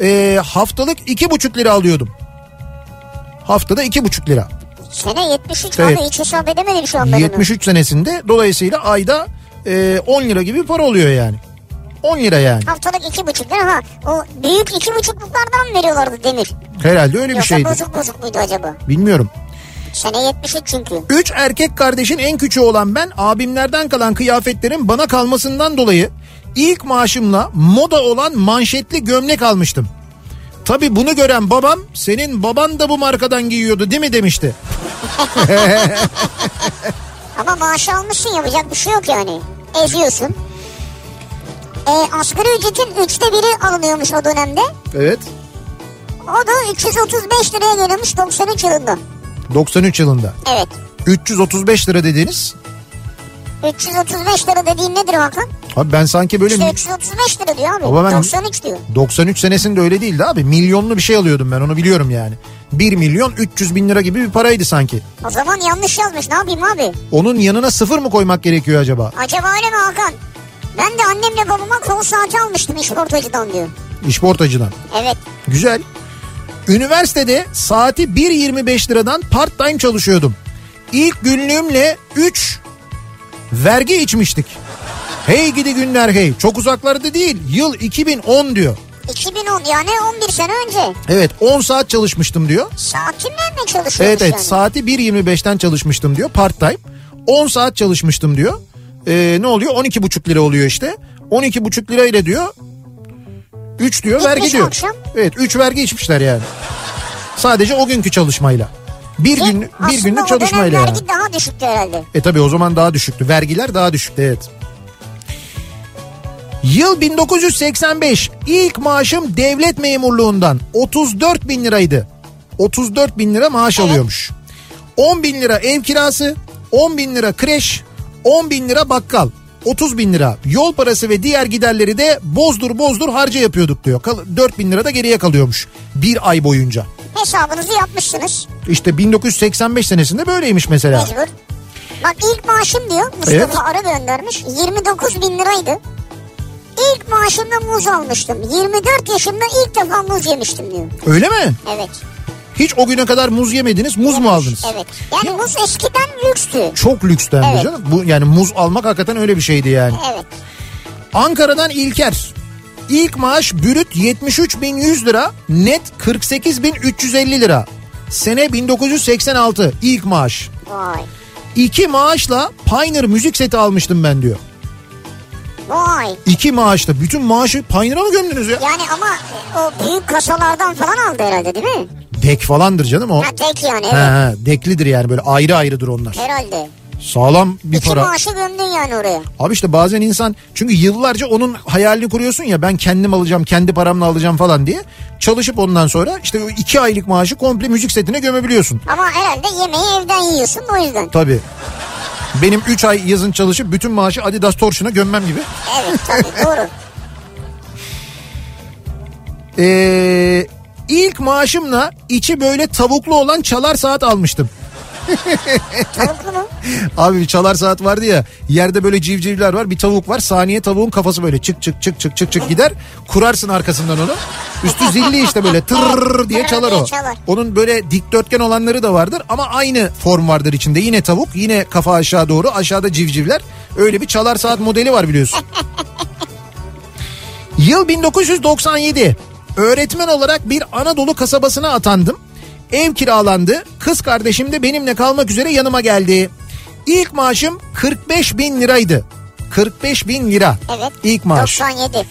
Speaker 2: e, haftalık 2,5 lira alıyordum. Haftada 2,5 lira.
Speaker 3: Sene 73
Speaker 2: Evet.
Speaker 3: abi hiç hesap edemedim şu an ben onu.
Speaker 2: 73 senesinde dolayısıyla ayda e, 10 lira gibi bir para oluyor yani. 10 lira yani.
Speaker 3: Haftalık iki buçuk lira ha. O büyük iki buçukluklardan mı veriyorlardı demir?
Speaker 2: Herhalde öyle bir
Speaker 3: Yoksa
Speaker 2: şeydi.
Speaker 3: bozuk bozuk muydu acaba?
Speaker 2: Bilmiyorum.
Speaker 3: Sene 73 çünkü.
Speaker 2: 3 erkek kardeşin en küçüğü olan ben abimlerden kalan kıyafetlerin bana kalmasından dolayı ilk maaşımla moda olan manşetli gömlek almıştım. Tabi bunu gören babam senin baban da bu markadan giyiyordu değil mi demişti.
Speaker 3: Ama maaşı almışsın yapacak bir şey yok yani. Eziyorsun. E, asgari ücretin üçte biri alınıyormuş o dönemde.
Speaker 2: Evet.
Speaker 3: O da 335 liraya geliyormuş 93 yılında.
Speaker 2: 93 yılında.
Speaker 3: Evet.
Speaker 2: 335 lira dediniz.
Speaker 3: 335 lira dediğin nedir Hakan?
Speaker 2: Abi ben sanki böyle
Speaker 3: İşte
Speaker 2: mi-
Speaker 3: 335 lira diyor abi.
Speaker 2: Baba ben-
Speaker 3: 93 diyor.
Speaker 2: 93 senesinde öyle değildi abi. Milyonlu bir şey alıyordum ben onu biliyorum yani. 1 milyon 300 bin lira gibi bir paraydı sanki.
Speaker 3: O zaman yanlış yazmış ne yapayım abi?
Speaker 2: Onun yanına sıfır mı koymak gerekiyor acaba?
Speaker 3: Acaba öyle mi Hakan? Ben de annemle babama kol saati almıştım işportacıdan diyor.
Speaker 2: İşportacıdan.
Speaker 3: Evet.
Speaker 2: Güzel. Üniversitede saati 1.25 liradan part time çalışıyordum. İlk günlüğümle 3 vergi içmiştik. Hey gidi günler hey. Çok uzaklarda değil. Yıl 2010 diyor.
Speaker 3: 2010 yani 11 sene önce.
Speaker 2: Evet 10 saat çalışmıştım diyor.
Speaker 3: Sakinler mi çalışıyormuş
Speaker 2: Evet evet
Speaker 3: yani?
Speaker 2: saati 1.25'ten çalışmıştım diyor part time. 10 saat çalışmıştım diyor. Ee, ne oluyor? 12,5 lira oluyor işte. 12,5 lirayla diyor. 3 diyor
Speaker 3: Gitmiş
Speaker 2: vergi diyor.
Speaker 3: akşam.
Speaker 2: Evet 3 vergi içmişler yani. Sadece o günkü çalışmayla. Bir
Speaker 3: Ki
Speaker 2: gün bir
Speaker 3: aslında
Speaker 2: günlük
Speaker 3: o dönem
Speaker 2: çalışmayla. yani.
Speaker 3: vergi daha düşüktü herhalde.
Speaker 2: E tabi o zaman daha düşüktü. Vergiler daha düşüktü evet. Yıl 1985 ilk maaşım devlet memurluğundan 34 bin liraydı. 34 bin lira maaş alıyormuş. 10 bin lira ev kirası, 10 bin lira kreş, 10 bin lira bakkal, 30 bin lira yol parası ve diğer giderleri de bozdur bozdur harca yapıyorduk diyor. Kal- 4 bin lira da geriye kalıyormuş bir ay boyunca.
Speaker 3: Hesabınızı yapmışsınız
Speaker 2: İşte 1985 senesinde böyleymiş mesela.
Speaker 3: mecbur. Bak ilk maaşım diyor Mustafa
Speaker 2: Evet.
Speaker 3: Arı göndermiş 29 bin liraydı. İlk maaşımda muz almıştım. 24 yaşımda ilk defa muz yemiştim diyor.
Speaker 2: Öyle mi?
Speaker 3: Evet.
Speaker 2: Hiç o güne kadar muz yemediniz, muz mu aldınız?
Speaker 3: Evet. Yani
Speaker 2: Ya-
Speaker 3: muz eskiden lükstü.
Speaker 2: Çok lüksten
Speaker 3: Evet.
Speaker 2: canım. Bu yani muz almak hakikaten öyle bir şeydi yani.
Speaker 3: Evet.
Speaker 2: Ankara'dan İlker. İlk maaş bürüt 73.100 lira, net 48.350 lira. Sene 1986 ilk maaş.
Speaker 3: Vay.
Speaker 2: İki maaşla Pioneer müzik seti almıştım ben diyor.
Speaker 3: Vay.
Speaker 2: İki maaşla bütün maaşı Pioneer'a mı gömdünüz ya?
Speaker 3: Yani ama e, o büyük kasalardan falan aldı herhalde değil mi?
Speaker 2: Dek falandır canım o.
Speaker 3: Ha tek yani
Speaker 2: He
Speaker 3: evet.
Speaker 2: he, deklidir yani böyle ayrı ayrıdır onlar.
Speaker 3: Herhalde.
Speaker 2: Sağlam bir
Speaker 3: İki
Speaker 2: para.
Speaker 3: maaşı gömdün yani oraya.
Speaker 2: Abi işte bazen insan çünkü yıllarca onun hayalini kuruyorsun ya ben kendim alacağım kendi paramla alacağım falan diye. Çalışıp ondan sonra işte o iki aylık maaşı komple müzik setine gömebiliyorsun.
Speaker 3: Ama herhalde yemeği evden yiyorsun o yüzden.
Speaker 2: Tabii. Benim 3 ay yazın çalışıp bütün maaşı Adidas Torsion'a gömmem gibi.
Speaker 3: Evet tabii doğru.
Speaker 2: Ee, ilk maaşımla içi böyle tavuklu olan çalar saat almıştım.
Speaker 3: Tavuklu mu?
Speaker 2: Abi bir çalar saat vardı ya yerde böyle civcivler var bir tavuk var saniye tavuğun kafası böyle çık çık çık çık çık çık gider kurarsın arkasından onu üstü zilli işte böyle tırrrr diye çalar o. Onun böyle dikdörtgen olanları da vardır ama aynı form vardır içinde yine tavuk yine kafa aşağı doğru aşağıda civcivler öyle bir çalar saat modeli var biliyorsun. Yıl 1997. Öğretmen olarak bir Anadolu kasabasına atandım. Ev kiralandı. Kız kardeşim de benimle kalmak üzere yanıma geldi. İlk maaşım 45 bin liraydı. 45 bin lira.
Speaker 3: Evet.
Speaker 2: İlk maaş.
Speaker 3: 97.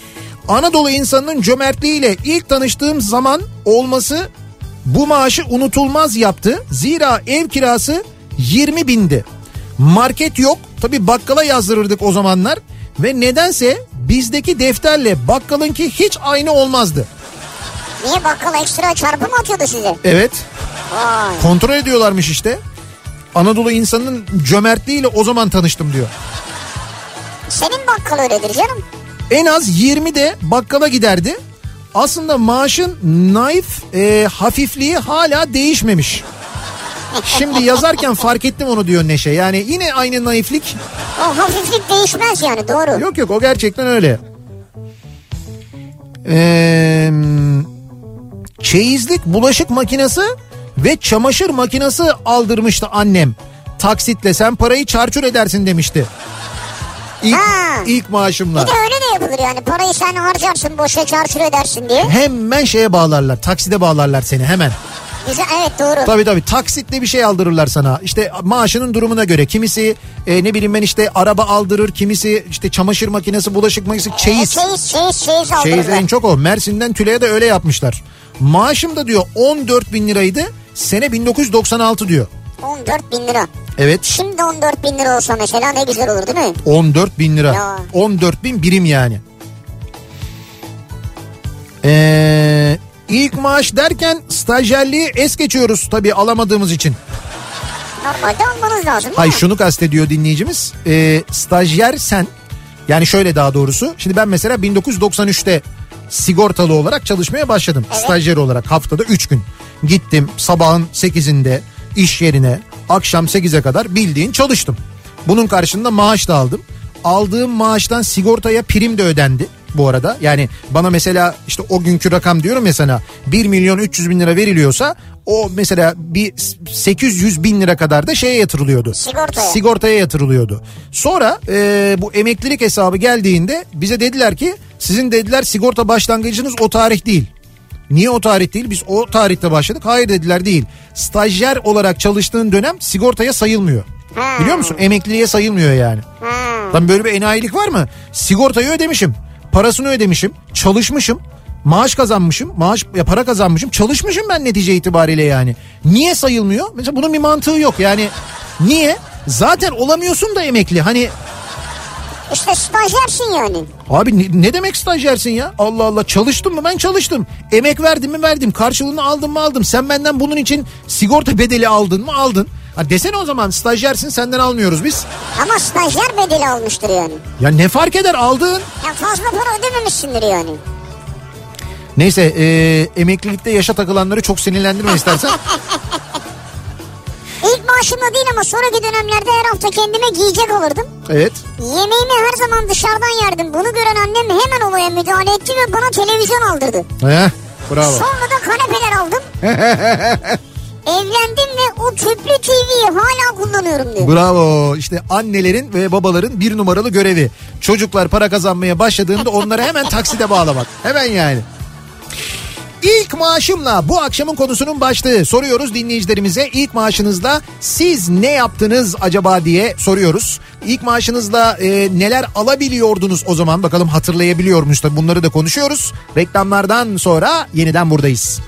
Speaker 2: Anadolu insanının cömertliğiyle ilk tanıştığım zaman olması bu maaşı unutulmaz yaptı. Zira ev kirası 20 bindi. Market yok tabi bakkala yazdırırdık o zamanlar ve nedense bizdeki defterle bakkalınki hiç aynı olmazdı.
Speaker 3: Niye bakkal ekstra çarpı mı atıyordu size?
Speaker 2: Evet
Speaker 3: Vay.
Speaker 2: kontrol ediyorlarmış işte. Anadolu insanının cömertliğiyle o zaman tanıştım diyor.
Speaker 3: Senin bakkal öyledir canım.
Speaker 2: En az 20 de bakkala giderdi. Aslında maaşın naif e, hafifliği hala değişmemiş. Şimdi yazarken fark ettim onu diyor Neşe. Yani yine aynı naiflik.
Speaker 3: O hafiflik değişmez yani doğru.
Speaker 2: Yok yok o gerçekten öyle. Ee, çeyizlik bulaşık makinesi ve çamaşır makinesi aldırmıştı annem. Taksitle sen parayı çarçur edersin demişti. İlk,
Speaker 3: Ha.
Speaker 2: ilk maaşımla.
Speaker 3: Bir de öyle de yapılır yani parayı sen harcarsın boşa çarçur edersin diye.
Speaker 2: Hemen şeye bağlarlar. Takside bağlarlar seni hemen.
Speaker 3: Güzel evet doğru.
Speaker 2: Tabii tabii taksitle bir şey aldırırlar sana. İşte maaşının durumuna göre. Kimisi e, ne bileyim ben işte araba aldırır. Kimisi işte çamaşır makinesi, bulaşık makinesi,
Speaker 3: E,
Speaker 2: çeyiz.
Speaker 3: Çeyiz çeyiz çeyiz
Speaker 2: Çeyiz
Speaker 3: aldırırlar.
Speaker 2: en çok o. Mersin'den Tüle'ye de öyle yapmışlar. Maaşım da diyor 14 bin liraydı. Sene 1996 diyor.
Speaker 3: 14 bin lira.
Speaker 2: Evet
Speaker 3: Şimdi 14 bin lira olsa mesela ne güzel olur değil mi?
Speaker 2: 14 bin lira.
Speaker 3: Ya.
Speaker 2: 14 bin birim yani. Ee, ilk maaş derken stajyerliği es geçiyoruz tabii alamadığımız için.
Speaker 3: Normalde almanız lazım değil
Speaker 2: Hayır
Speaker 3: mi?
Speaker 2: şunu kastediyor dinleyicimiz. Ee, stajyer sen yani şöyle daha doğrusu. Şimdi ben mesela 1993'te sigortalı olarak çalışmaya başladım. Stajyer olarak haftada 3 gün. Gittim sabahın 8'inde iş yerine akşam 8'e kadar bildiğin çalıştım. Bunun karşılığında maaş da aldım. Aldığım maaştan sigortaya prim de ödendi bu arada. Yani bana mesela işte o günkü rakam diyorum ya sana 1 milyon 300 bin lira veriliyorsa o mesela bir 800 bin lira kadar da şeye yatırılıyordu
Speaker 3: Sigortaya.
Speaker 2: sigortaya yatırılıyordu. Sonra e, bu emeklilik hesabı geldiğinde bize dediler ki sizin dediler sigorta başlangıcınız o tarih değil. Niye o tarih değil? Biz o tarihte başladık. Hayır dediler değil. Stajyer olarak çalıştığın dönem sigortaya sayılmıyor.
Speaker 3: Ha.
Speaker 2: Biliyor musun? Emekliliğe sayılmıyor yani.
Speaker 3: Ha.
Speaker 2: Lan böyle bir enayilik var mı? Sigortayı ödemişim. Parasını ödemişim. Çalışmışım. Maaş kazanmışım. Maaş ya para kazanmışım. Çalışmışım ben netice itibariyle yani. Niye sayılmıyor? Mesela bunun bir mantığı yok. Yani niye? Zaten olamıyorsun da emekli. Hani
Speaker 3: İşte stajyersin yani.
Speaker 2: abi ne, ne demek stajyersin ya? Allah Allah çalıştım mı? Ben çalıştım. Emek verdim mi? Verdim. Karşılığını aldım mı? Aldım. Sen benden bunun için sigorta bedeli aldın mı? Aldın. Ha desene o zaman stajyersin senden almıyoruz biz.
Speaker 3: Ama stajyer bedeli almıştır yani.
Speaker 2: Ya ne fark eder aldın.
Speaker 3: Ya fazla para ödememişsindir yani.
Speaker 2: Neyse e, emeklilikte yaşa takılanları çok sinirlendirme istersen.
Speaker 3: İlk maaşımla değil ama sonraki dönemlerde her hafta kendime giyecek alırdım.
Speaker 2: evet.
Speaker 3: Yemeğimi her zaman dışarıdan yerdim. Bunu gören annem hemen olaya müdahale etti ve bana televizyon aldırdı.
Speaker 2: Heh, bravo.
Speaker 3: Sonra da kanepeler aldım. Evlendim ve o tüplü TV'yi hala kullanıyorum diyor.
Speaker 2: Bravo. İşte annelerin ve babaların bir numaralı görevi. Çocuklar para kazanmaya başladığında onları hemen takside bağlamak. Hemen yani. İlk maaşımla bu akşamın konusunun başlığı. Soruyoruz dinleyicilerimize ilk maaşınızla siz ne yaptınız acaba diye soruyoruz. İlk maaşınızla e, neler alabiliyordunuz o zaman bakalım hatırlayabiliyor muyuz da bunları da konuşuyoruz. Reklamlardan sonra yeniden buradayız.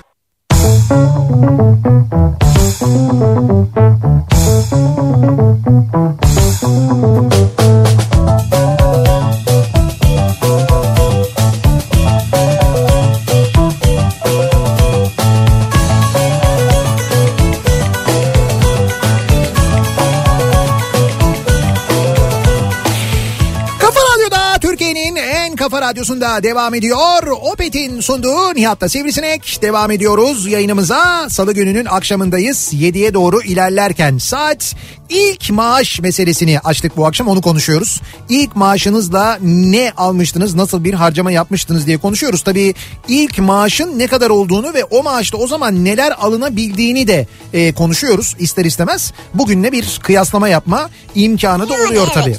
Speaker 2: Radyosu'nda devam ediyor. Opet'in sunduğu Nihat'ta Sivrisinek. Devam ediyoruz yayınımıza. Salı gününün akşamındayız. 7'ye doğru ilerlerken saat ilk maaş meselesini açtık bu akşam. Onu konuşuyoruz. İlk maaşınızla ne almıştınız, nasıl bir harcama yapmıştınız diye konuşuyoruz. Tabii ilk maaşın ne kadar olduğunu ve o maaşta o zaman neler alınabildiğini de e, konuşuyoruz ister istemez. Bugünle bir kıyaslama yapma imkanı da
Speaker 3: Yani
Speaker 2: oluyor
Speaker 3: evet.
Speaker 2: tabii.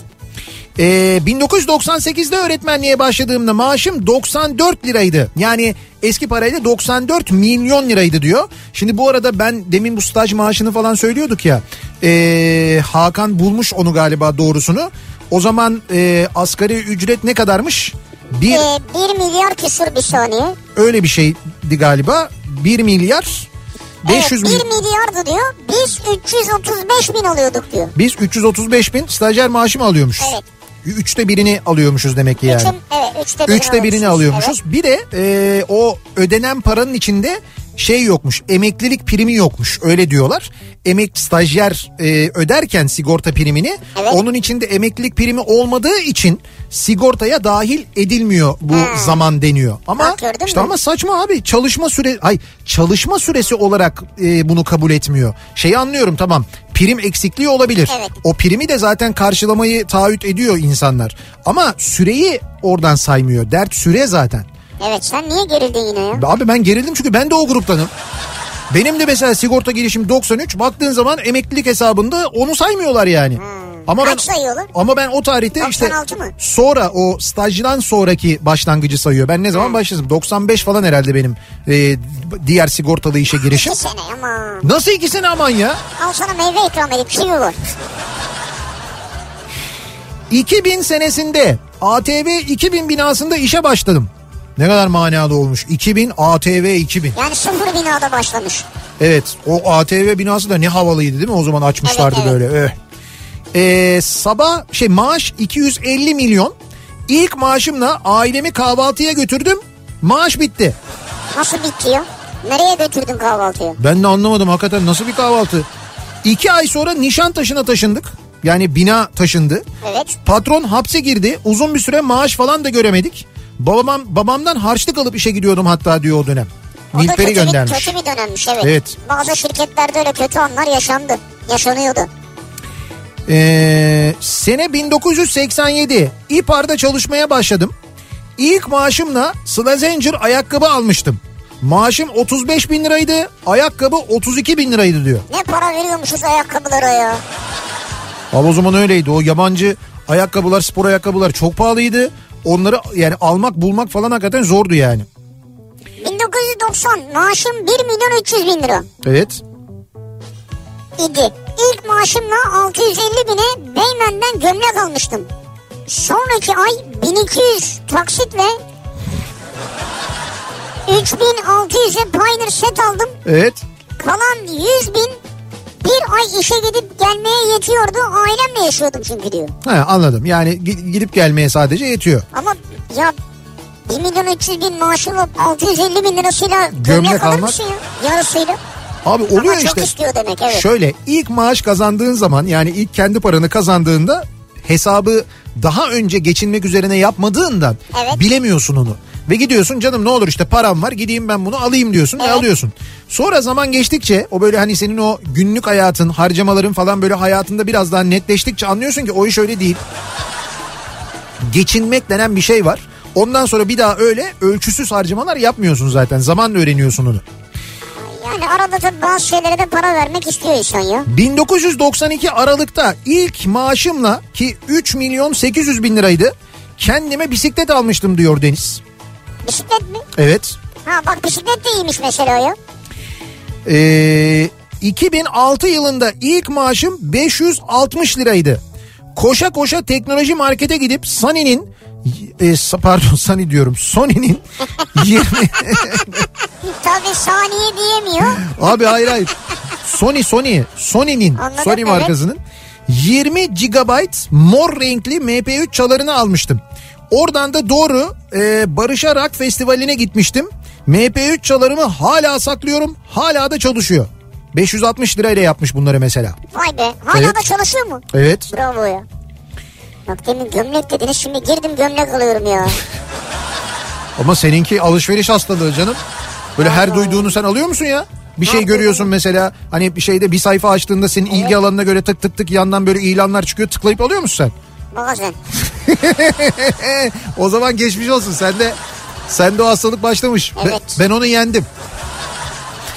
Speaker 2: Ee, 1998'de öğretmenliğe başladığımda maaşım 94 liraydı. Yani eski parayla 94 milyon liraydı diyor. Şimdi bu arada ben demin bu staj maaşını falan söylüyorduk ya. Ee, Hakan bulmuş onu galiba doğrusunu. O zaman e, asgari ücret ne kadarmış? Bir
Speaker 3: Ee, 1 milyar küsur bir saniye.
Speaker 2: öyle bir şeydi galiba. 1 milyar 500
Speaker 3: evet, 1
Speaker 2: milyon.
Speaker 3: milyardı diyor. Biz 335 bin alıyorduk diyor.
Speaker 2: Biz 335 bin stajyer maaşı mı alıyormuşuz?
Speaker 3: Evet.
Speaker 2: Üçte birini alıyormuşuz demek ki yani.
Speaker 3: Üçün, evet, üçte birini,
Speaker 2: Üçte birini alıyormuşuz. Bir de e, o ödenen paranın içinde şey yokmuş emeklilik primi yokmuş öyle diyorlar. Emek stajyer e, öderken sigorta primini
Speaker 3: Evet.
Speaker 2: onun içinde emeklilik primi olmadığı için sigortaya dahil edilmiyor bu
Speaker 3: Ha.
Speaker 2: zaman deniyor. Ama
Speaker 3: Bak gördün
Speaker 2: işte
Speaker 3: mü?
Speaker 2: ama saçma abi çalışma süre ay çalışma süresi olarak e, bunu kabul etmiyor. Şeyi anlıyorum tamam prim eksikliği olabilir.
Speaker 3: Evet.
Speaker 2: O primi de zaten karşılamayı taahhüt ediyor insanlar. Ama süreyi oradan saymıyor. Dert süre zaten.
Speaker 3: Evet. evet sen niye gerildin yine ya?
Speaker 2: Abi ben gerildim çünkü ben de o gruptanım. Benim de mesela sigorta girişim 93 baktığın zaman emeklilik hesabında onu saymıyorlar yani. Ama ben
Speaker 3: Hmm. Kaç sayıyorlar?
Speaker 2: ama ben o tarihte işte
Speaker 3: 96 mı?
Speaker 2: sonra o stajdan sonraki başlangıcı sayıyor. Ben ne
Speaker 3: Hmm.
Speaker 2: zaman başladım? 95 falan herhalde benim e, diğer sigortalı işe girişim.
Speaker 3: İki sene aman.
Speaker 2: Nasıl ikisini aman ya?
Speaker 3: Al sana meyve ikram edip kivi var.
Speaker 2: 2000 senesinde ATV 2000 binasında işe başladım. Ne kadar manalı olmuş. 2000 ATV 2000.
Speaker 3: Yani sıfır binada başlamış.
Speaker 2: Evet o ATV binası da ne havalıydı değil mi? O zaman açmışlardı
Speaker 3: Evet, evet.
Speaker 2: böyle. eh. Ee, sabah şey maaş 250 milyon. İlk maaşımla ailemi kahvaltıya götürdüm. Maaş bitti.
Speaker 3: Nasıl bitti ya? Nereye götürdün kahvaltıyı?
Speaker 2: Ben de anlamadım hakikaten nasıl bir kahvaltı. İki ay sonra Nişantaşı'na taşındık. Yani bina taşındı.
Speaker 3: Evet.
Speaker 2: Patron hapse girdi. Uzun bir süre maaş falan da göremedik. Babam, babamdan harçlık alıp işe gidiyordum hatta diyor o dönem.
Speaker 3: O da
Speaker 2: Nilperi
Speaker 3: kötü bir-
Speaker 2: göndermiş.
Speaker 3: Kötü bir dönemmiş evet.
Speaker 2: Evet.
Speaker 3: Bazı şirketlerde öyle kötü anlar yaşandı. Yaşanıyordu.
Speaker 2: Ee, sene 1987 İPAR'da çalışmaya başladım. İlk maaşımla Slazenger ayakkabı almıştım. Maaşım 35 bin liraydı. Ayakkabı 32 bin liraydı diyor.
Speaker 3: Ne para veriyormuşuz ayakkabılara ya.
Speaker 2: Abi o zaman öyleydi. O yabancı ayakkabılar, spor ayakkabılar çok pahalıydı. Onları yani almak bulmak falan hakikaten zordu yani.
Speaker 3: 1990 maaşım 1 milyon 300 bin lira
Speaker 2: Evet.
Speaker 3: idi. İlk maaşımla 650 bine Beymen'den gömlek almıştım. Sonraki ay 1200 taksitle 3600'e Pioneer set aldım.
Speaker 2: Evet.
Speaker 3: Kalan 100 bin bir ay işe gidip gelmeye yetiyordu. Ailemle yaşıyordum çünkü diyor.
Speaker 2: Ha, anladım. Yani gi- gidip gelmeye sadece yetiyor.
Speaker 3: Ama ya 1 milyon 300 bin maaşımla 650 bin lirasıyla gömlek,
Speaker 2: Gömlek
Speaker 3: alır
Speaker 2: almak-
Speaker 3: mısın ya? Yarısıyla.
Speaker 2: Abi oluyor
Speaker 3: Ama çok
Speaker 2: işte.
Speaker 3: istiyor demek evet.
Speaker 2: Şöyle ilk maaş kazandığın zaman yani ilk kendi paranı kazandığında hesabı daha önce geçinmek üzerine yapmadığından
Speaker 3: Evet.
Speaker 2: bilemiyorsun onu. Ve gidiyorsun canım ne olur işte param var gideyim ben bunu alayım diyorsun ve
Speaker 3: Evet.
Speaker 2: alıyorsun. Sonra zaman geçtikçe o böyle hani senin o günlük hayatın harcamaların falan böyle hayatında biraz daha netleştikçe anlıyorsun ki o iş öyle değil. Geçinmek denen bir şey var. Ondan sonra bir daha öyle ölçüsüz harcamalar yapmıyorsun zaten. Zamanla öğreniyorsun onu.
Speaker 3: Yani arada tabii bazı şeylere de para vermek istiyor insan ya.
Speaker 2: 1992 Aralık'ta ilk maaşımla ki 3 milyon 800 bin liraydı kendime bisiklet almıştım diyor Deniz.
Speaker 3: Bisiklet mi?
Speaker 2: Evet.
Speaker 3: Ha bak bisiklet de iyiymiş mesela ya.
Speaker 2: Ee, 2006 yılında ilk maaşım 560 liraydı. Koşa koşa teknoloji markete gidip Sony'nin e, sa- pardon Sony diyorum Sony'nin 20
Speaker 3: Tabii saniye diyemiyor.
Speaker 2: abi hayır hayır Sony Sony Sony'nin
Speaker 3: Anladım,
Speaker 2: Sony
Speaker 3: evet.
Speaker 2: markasının 20 GB mor renkli MP3 çalarını almıştım. Oradan da doğru e, Barış'a Rock Festivali'ne gitmiştim. MP3 çalarımı hala saklıyorum. Hala da çalışıyor. 560 lirayla yapmış bunları mesela.
Speaker 3: Vay be. Hala
Speaker 2: Evet.
Speaker 3: da çalışıyor mu?
Speaker 2: Evet.
Speaker 3: Bravo ya. Bak demin gömlek dediniz şimdi girdim gömlek alıyorum ya.
Speaker 2: Ama seninki alışveriş hastalığı canım. Böyle her duyduğunu sen alıyor musun ya? Bir şey görüyorsun mesela hani bir şeyde bir sayfa açtığında senin ilgi alanına göre tık tık tık yandan böyle ilanlar çıkıyor tıklayıp alıyor musun sen?
Speaker 3: Bazen.
Speaker 2: O zaman geçmiş olsun sen de sen de o hastalık başlamış. Be-
Speaker 3: Evet.
Speaker 2: Ben, onu yendim.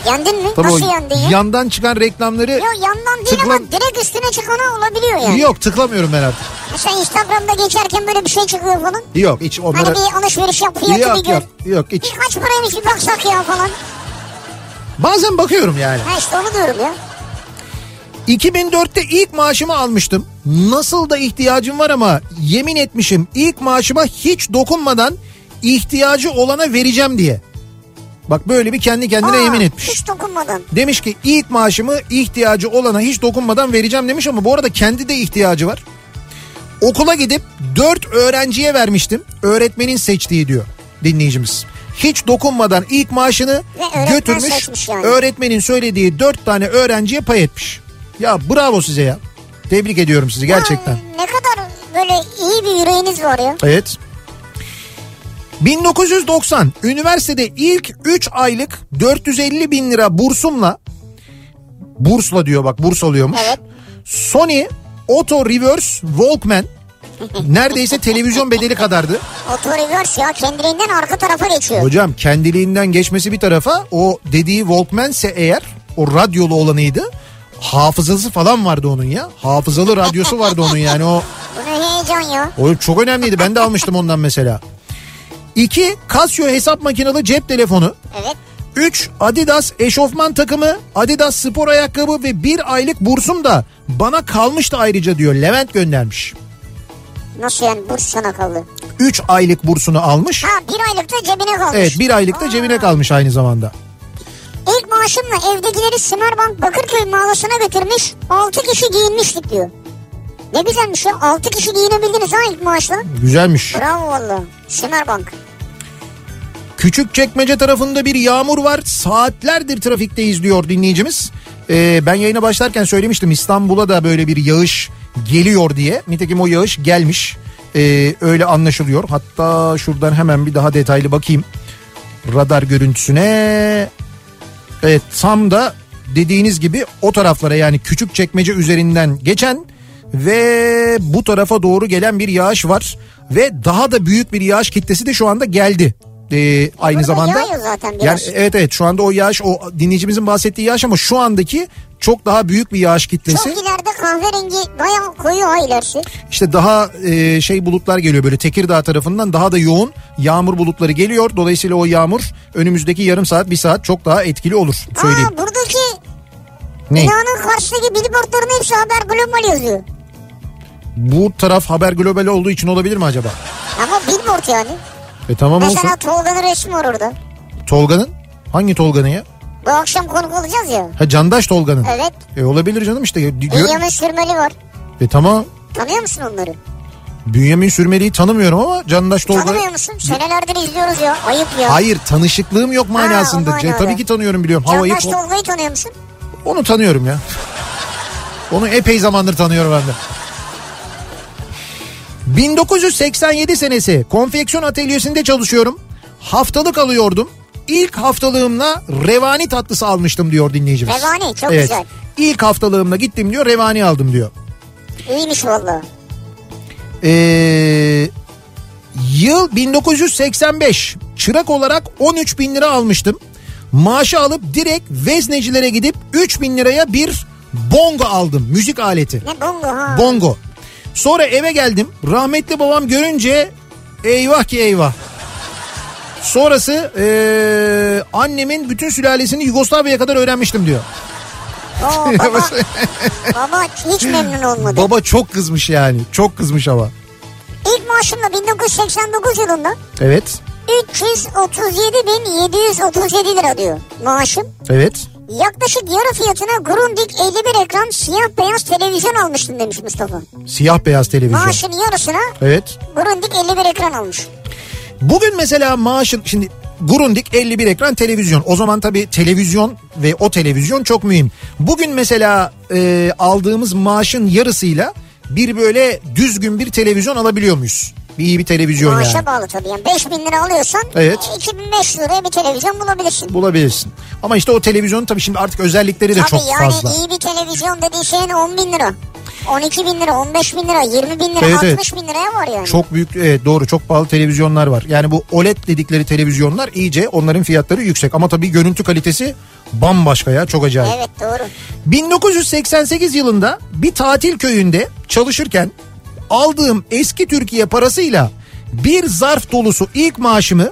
Speaker 3: Yendin mi?
Speaker 2: Tabii
Speaker 3: Nasıl
Speaker 2: o
Speaker 3: yendin ya?
Speaker 2: Yandan çıkan reklamları
Speaker 3: Yok yandan değil
Speaker 2: Tıklam-
Speaker 3: ama direkt üstüne çıkana olabiliyor yani.
Speaker 2: yok tıklamıyorum ben artık.
Speaker 3: Mesela Instagram'da geçerken böyle bir şey çıkıyor falan.
Speaker 2: Yok hiç
Speaker 3: Hani
Speaker 2: onlara
Speaker 3: bir alışveriş yap fiyatı bir
Speaker 2: yok
Speaker 3: gör.
Speaker 2: yok yok hiç.
Speaker 3: Bir kaç paraymış bir baksak ya falan.
Speaker 2: Bazen bakıyorum yani.
Speaker 3: Ha işte onu diyorum ya.
Speaker 2: 2004'te ilk maaşımı almıştım. Nasıl da ihtiyacım var ama yemin etmişim ilk maaşıma hiç dokunmadan ihtiyacı olana vereceğim diye. Bak böyle bir kendi kendine
Speaker 3: Aa,
Speaker 2: yemin etmiş.
Speaker 3: Hiç dokunmadan.
Speaker 2: Demiş ki ilk maaşımı ihtiyacı olana hiç dokunmadan vereceğim demiş ama bu arada kendi de ihtiyacı var. Okula gidip 4 öğrenciye vermiştim. Öğretmenin seçtiği diyor dinleyicimiz. Hiç dokunmadan ilk maaşını
Speaker 3: Ve öğretmen
Speaker 2: götürmüş.
Speaker 3: seçmiş yani.
Speaker 2: Öğretmenin söylediği 4 tane öğrenciye pay etmiş. Ya bravo size ya. Tebrik ediyorum sizi gerçekten.
Speaker 3: Ha, ne kadar böyle iyi bir yüreğiniz var ya.
Speaker 2: Evet. 1990 üniversitede ilk 3 aylık 450 bin lira bursumla bursla diyor bak burs alıyormuş.
Speaker 3: Evet.
Speaker 2: Sony Auto Reverse Walkman neredeyse televizyon bedeli kadardı.
Speaker 3: Otoriverse ya kendiliğinden arka tarafa geçiyor.
Speaker 2: Hocam kendiliğinden geçmesi bir tarafa o dediği Walkman ise eğer o radyolu olanıydı. Hafızası falan vardı onun ya. Hafızalı radyosu vardı onun yani o
Speaker 3: Bu ne heyecan ya.
Speaker 2: o çok önemliydi. Ben de almıştım ondan mesela. 2. Casio hesap makinalı cep telefonu.
Speaker 3: Evet.
Speaker 2: 3. Adidas eşofman takımı, Adidas spor ayakkabı ve bir aylık bursum da bana kalmıştı ayrıca diyor. Levent göndermiş.
Speaker 3: Nasıl yani burs sana kaldı?
Speaker 2: 3 aylık bursunu almış.
Speaker 3: Ha bir aylıkta cebine kalmış.
Speaker 2: Evet bir aylık da cebine kalmış aynı zamanda.
Speaker 3: İlk maaşımla evdekileri Simerbank Bakırköy mağazasına götürmüş. 6 kişi giyinmiştik diyor. Ne güzelmiş ya 6 kişi giyinebildiniz ha ilk maaşla.
Speaker 2: Güzelmiş.
Speaker 3: Bravo valla. Simerbank.
Speaker 2: Küçük çekmece tarafında bir yağmur var. Saatlerdir trafikteyiz diyor dinleyicimiz. Ee, ben yayına başlarken söylemiştim İstanbul'a da böyle bir yağış geliyor diye. Nitekim o yağış gelmiş. Ee, öyle anlaşılıyor. Hatta şuradan hemen bir daha detaylı bakayım. Radar görüntüsüne. Evet tam da dediğiniz gibi o taraflara yani küçük çekmece üzerinden geçen ve bu tarafa doğru gelen bir yağış var ve daha da büyük bir yağış kitlesi de şu anda geldi. Ee, aynı
Speaker 3: Burada
Speaker 2: zamanda
Speaker 3: yağıyor zaten
Speaker 2: yani
Speaker 3: biraz.
Speaker 2: evet evet şu anda o yağış o dinleyicimizin bahsettiği yağış ama şu andaki çok daha büyük bir yağış kitlesi.
Speaker 3: Çok ileride kahverengi bayağı koyu ha ilerisi.
Speaker 2: İşte daha e, şey bulutlar geliyor böyle Tekirdağ tarafından daha da yoğun yağmur bulutları geliyor. Dolayısıyla o yağmur önümüzdeki yarım saat bir saat çok daha etkili olur söyleyeyim.
Speaker 3: Aa buradaki
Speaker 2: Ne?
Speaker 3: binanın karşısındaki billboardların hepsi haber global yazıyor.
Speaker 2: Bu taraf haber global olduğu için olabilir mi acaba?
Speaker 3: Ama billboard yani.
Speaker 2: E tamam olsun.
Speaker 3: Mesela Tolga'nın resmi var orada.
Speaker 2: Tolga'nın? Hangi Tolga'nın ya?
Speaker 3: Bu akşam konuk olacağız ya.
Speaker 2: Ha Candaş Tolga'nın.
Speaker 3: Evet.
Speaker 2: E olabilir canım işte. Gö-
Speaker 3: Bünyamin Sürmeli var.
Speaker 2: E tamam.
Speaker 3: Tanıyor musun onları?
Speaker 2: Bünyamin Sürmeli'yi tanımıyorum ama Candaş Tolga...
Speaker 3: Tanımıyor musun? Senelerdir izliyoruz ya. Ayıp ya.
Speaker 2: Hayır tanışıklığım yok manasında.
Speaker 3: o
Speaker 2: Ce-
Speaker 3: manada.
Speaker 2: Tabii ki tanıyorum biliyorum. Havayı
Speaker 3: Candaş Tolga'yı tanıyor musun?
Speaker 2: Onu tanıyorum ya. Onu epey zamandır tanıyorum ben de. 1987 senesi konfeksiyon atölyesinde çalışıyorum. Haftalık alıyordum. İlk haftalığımla revani tatlısı almıştım diyor dinleyicimiz.
Speaker 3: Revani, çok
Speaker 2: evet.
Speaker 3: güzel.
Speaker 2: İlk haftalığımla gittim diyor revani aldım diyor.
Speaker 3: İyiymiş valla.
Speaker 2: Ee, yıl 1985 çırak olarak 13 bin lira almıştım. Maaşı alıp direkt veznecilere gidip 3 bin liraya bir bongo aldım müzik aleti.
Speaker 3: Ne bongo ha.
Speaker 2: Bongo. Sonra eve geldim rahmetli babam görünce eyvah ki eyvah. Sonrası ee, annemin bütün sülalesini Yugoslavya'ya kadar öğrenmiştim diyor.
Speaker 3: Oo, baba, baba hiç memnun olmadı.
Speaker 2: Baba çok kızmış yani çok kızmış ama.
Speaker 3: İlk maaşımla 1989 yılında
Speaker 2: Evet
Speaker 3: 337.737 lira diyor maaşım.
Speaker 2: evet.
Speaker 3: Yaklaşık yarı fiyatına Grundig 51 ekran siyah beyaz televizyon almıştım demiş Mustafa.
Speaker 2: Siyah beyaz televizyon.
Speaker 3: Maaşın yarısına
Speaker 2: Evet.
Speaker 3: Grundig 51 ekran almış.
Speaker 2: Bugün mesela maaşın şimdi Grundig 51 ekran televizyon. O zaman tabii televizyon ve o televizyon çok mühim. Bugün mesela e, aldığımız maaşın yarısıyla bir böyle düzgün bir televizyon alabiliyor muyuz? Bir iyi bir televizyon
Speaker 3: Maaşa
Speaker 2: yani.
Speaker 3: bağlı tabii. Yani 5 bin lira alıyorsan
Speaker 2: Evet.
Speaker 3: e, 2500 liraya bir televizyon bulabilirsin.
Speaker 2: Bulabilirsin. Ama işte o televizyonun tabii şimdi artık özellikleri de
Speaker 3: tabii
Speaker 2: çok
Speaker 3: yani
Speaker 2: fazla.
Speaker 3: iyi bir televizyon dediğin şeyin 10 bin lira. 12 bin lira, 15 bin lira, 20 bin lira,
Speaker 2: Evet,
Speaker 3: 60
Speaker 2: evet.
Speaker 3: bin liraya var yani.
Speaker 2: Çok büyük evet doğru çok pahalı televizyonlar var. Yani bu OLED dedikleri televizyonlar iyice onların fiyatları yüksek. Ama tabii görüntü kalitesi bambaşka ya çok acayip.
Speaker 3: Evet doğru.
Speaker 2: 1988 yılında bir tatil köyünde çalışırken aldığım eski Türkiye parasıyla bir zarf dolusu ilk maaşımı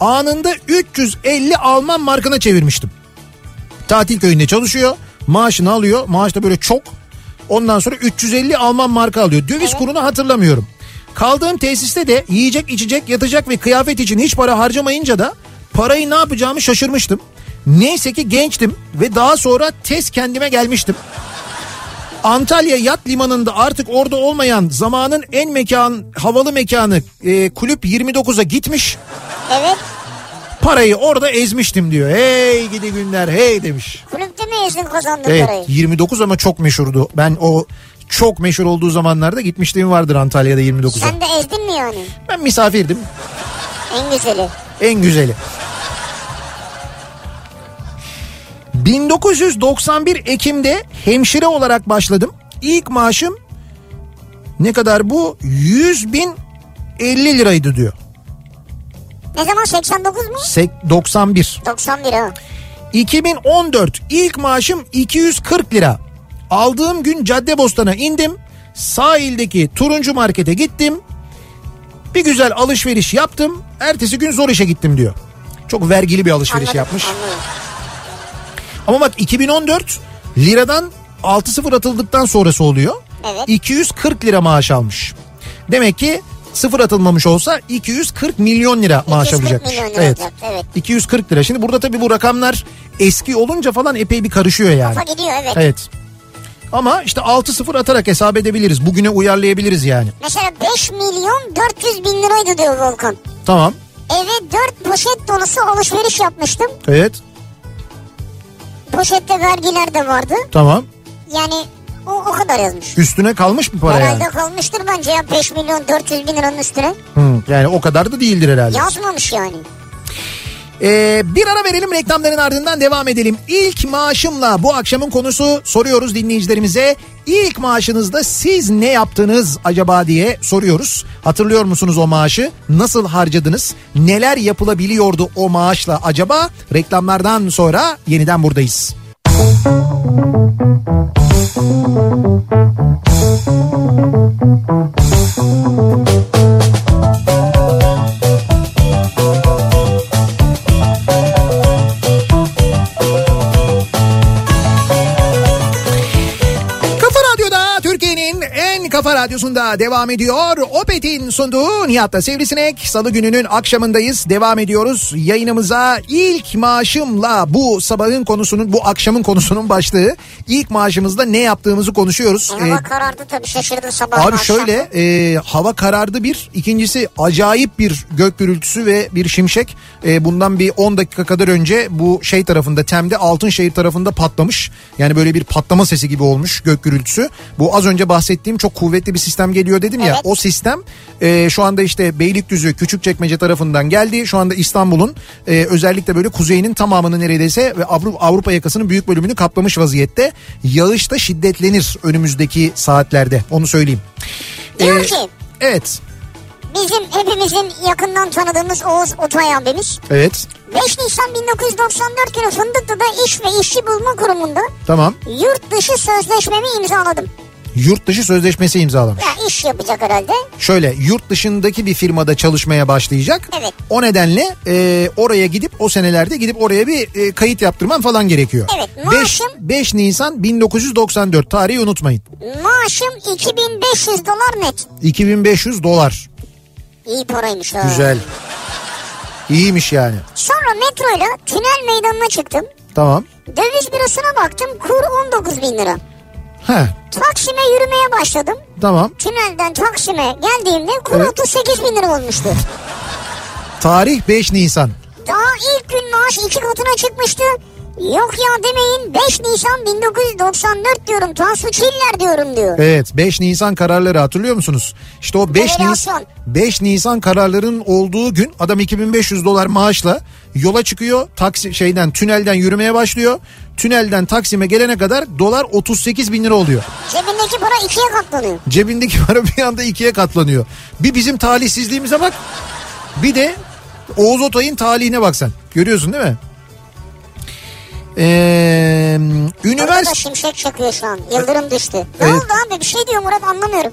Speaker 2: anında 350 Alman markına çevirmiştim. Tatil köyünde çalışıyor, maaşını alıyor, maaş da böyle çok. Ondan sonra 350 Alman marka alıyor. Döviz kurunu hatırlamıyorum. Kaldığım tesiste de yiyecek, içecek, yatacak ve kıyafet için hiç para harcamayınca da parayı ne yapacağımı şaşırmıştım. Neyse ki gençtim ve daha sonra tez kendime gelmiştim. Antalya Yat Limanı'nda artık orada olmayan zamanın en mekan havalı mekanı e, kulüp 29'a gitmiş.
Speaker 3: Evet.
Speaker 2: Parayı orada ezmiştim diyor. Hey gidi günler hey demiş.
Speaker 3: Kulüpte mi ezdin kazandın
Speaker 2: Evet
Speaker 3: parayı?
Speaker 2: 29 ama çok meşhurdu. Ben o çok meşhur olduğu zamanlarda gitmişliğim vardır Antalya'da 29'a.
Speaker 3: Sen de ezdin mi yani?
Speaker 2: Ben misafirdim.
Speaker 3: En güzeli.
Speaker 2: En güzeli. 1991 Ekim'de hemşire olarak başladım. İlk maaşım ne kadar bu? 100 bin 50 liraydı diyor.
Speaker 3: Ne zaman 89 mu?
Speaker 2: Sek- 91.
Speaker 3: 91 ha.
Speaker 2: 2014 ilk maaşım 240 lira. Aldığım gün Caddebostan'a indim. Sahildeki turuncu markete gittim. Bir güzel alışveriş yaptım. Ertesi gün zor işe gittim diyor. Çok vergili bir alışveriş
Speaker 3: Anladım,
Speaker 2: yapmış.
Speaker 3: anladım.
Speaker 2: Ama bak 2014 liradan 6-0 atıldıktan sonrası oluyor.
Speaker 3: Evet.
Speaker 2: 240 lira maaş almış. Demek ki sıfır atılmamış olsa 240 milyon lira maaş
Speaker 3: 240
Speaker 2: alacakmış.
Speaker 3: milyon lira olacak, evet.
Speaker 2: 240 lira. Şimdi burada tabii bu rakamlar eski olunca falan epey bir karışıyor yani.
Speaker 3: Kafa gidiyor evet.
Speaker 2: Evet. Ama işte 6-0 atarak hesap edebiliriz. Bugüne uyarlayabiliriz yani.
Speaker 3: Mesela 5 milyon 400 bin liraydı diyor Volkan.
Speaker 2: Tamam.
Speaker 3: Eve 4 poşet dolusu alışveriş yapmıştım.
Speaker 2: Evet.
Speaker 3: Poşette vergiler de vardı.
Speaker 2: Tamam.
Speaker 3: Yani o, o kadar yazmış.
Speaker 2: Üstüne kalmış mı para
Speaker 3: Herhalde
Speaker 2: yani?
Speaker 3: kalmıştır bence ya 5 milyon 400 bin liranın üstüne.
Speaker 2: Hı, yani o kadar da değildir herhalde.
Speaker 3: Yazmamış yani.
Speaker 2: Ee, bir ara verelim reklamların ardından devam edelim. İlk maaşımla bu akşamın konusu soruyoruz dinleyicilerimize. İlk maaşınızda siz ne yaptınız acaba diye soruyoruz. Hatırlıyor musunuz o maaşı? Nasıl harcadınız? Neler yapılabiliyordu o maaşla acaba? Reklamlardan sonra yeniden buradayız. Kafa Radyo'da Türkiye'nin en kafa radyosunda devam ediyor. Opet'in sunduğu Nihat'la Sivrisinek. Salı gününün akşamındayız. Devam ediyoruz yayınımıza. ilk maaşımla bu sabahın konusunun, bu akşamın konusunun başlığı. ilk maaşımızda ne yaptığımızı konuşuyoruz.
Speaker 3: E,
Speaker 2: Ee,
Speaker 3: hava karardı tabii şaşırdım sabah.
Speaker 2: Abi şöyle e, hava karardı bir ikincisi acayip bir gök gürültüsü ve bir şimşek E, bundan bir 10 dakika kadar önce bu şey tarafında Tem'de Altınşehir tarafında patlamış yani böyle bir patlama sesi gibi olmuş gök gürültüsü bu az önce bahsettiğim çok kuvvetli bir sistem geliyor dedim ya
Speaker 3: Evet.
Speaker 2: o sistem e, şu anda işte Beylikdüzü Küçükçekmece tarafından geldi şu anda İstanbul'un e, özellikle böyle kuzeyinin tamamını neredeyse ve Avru- Avrupa yakasının büyük bölümünü kaplamış vaziyette yağış da şiddetlenir önümüzdeki saatlerde onu söyleyeyim.
Speaker 3: Diyor
Speaker 2: Ee,
Speaker 3: ki
Speaker 2: Evet.
Speaker 3: bizim hepimizin yakından tanıdığımız Oğuz Otay abimiz
Speaker 2: Evet.
Speaker 3: 5 Nisan 1994 günü Fındıklı'da iş ve işçi bulma kurumunda
Speaker 2: Tamam.
Speaker 3: yurt dışı sözleşmemi imzaladım.
Speaker 2: Yurt dışı sözleşmesi imzalamış.
Speaker 3: Ya iş yapacak herhalde.
Speaker 2: Şöyle yurt dışındaki bir firmada çalışmaya başlayacak.
Speaker 3: Evet.
Speaker 2: O nedenle e, oraya gidip o senelerde gidip oraya bir e, kayıt yaptırman falan gerekiyor.
Speaker 3: Evet,
Speaker 2: Beş-
Speaker 3: maaşım-
Speaker 2: 5 Nisan 1994 tarihi unutmayın.
Speaker 3: Maaşım 2500 dolar net.
Speaker 2: 2500 dolar.
Speaker 3: İyi paraymış ha.
Speaker 2: Güzel. İyiymiş yani.
Speaker 3: Sonra metroyla tünel meydanına çıktım.
Speaker 2: Tamam.
Speaker 3: Döviz bürosuna baktım kur 19 bin lira.
Speaker 2: He.
Speaker 3: Taksim'e yürümeye başladım.
Speaker 2: Tamam.
Speaker 3: Tünelden Taksim'e geldiğimde kur
Speaker 2: Evet.
Speaker 3: 38 bin lira olmuştu.
Speaker 2: Tarih 5 Nisan.
Speaker 3: Daha ilk gün maaş iki katına çıkmıştı. Yok ya demeyin 5 Nisan 1994 diyorum Tansu Çiller diyorum diyor.
Speaker 2: Evet 5 Nisan kararları hatırlıyor musunuz? İşte o 5 Nisan
Speaker 3: Devalüasyon.
Speaker 2: 5 Nisan kararlarının olduğu gün adam 2500 dolar maaşla yola çıkıyor. Taksi şeyden tünelden yürümeye başlıyor. Tünelden Taksim'e gelene kadar dolar 38 bin lira oluyor.
Speaker 3: Cebindeki para ikiye katlanıyor.
Speaker 2: Cebindeki para bir anda ikiye katlanıyor. Bir bizim talihsizliğimize bak. Bir de Oğuz Otay'ın talihine bak sen. Görüyorsun değil mi? Ee,
Speaker 3: Burada da
Speaker 2: üniversite
Speaker 3: şimşek çakıyor şu an. Yıldırım düştü. Ne
Speaker 2: Evet.
Speaker 3: oldu abi bir şey diyor Murat anlamıyorum.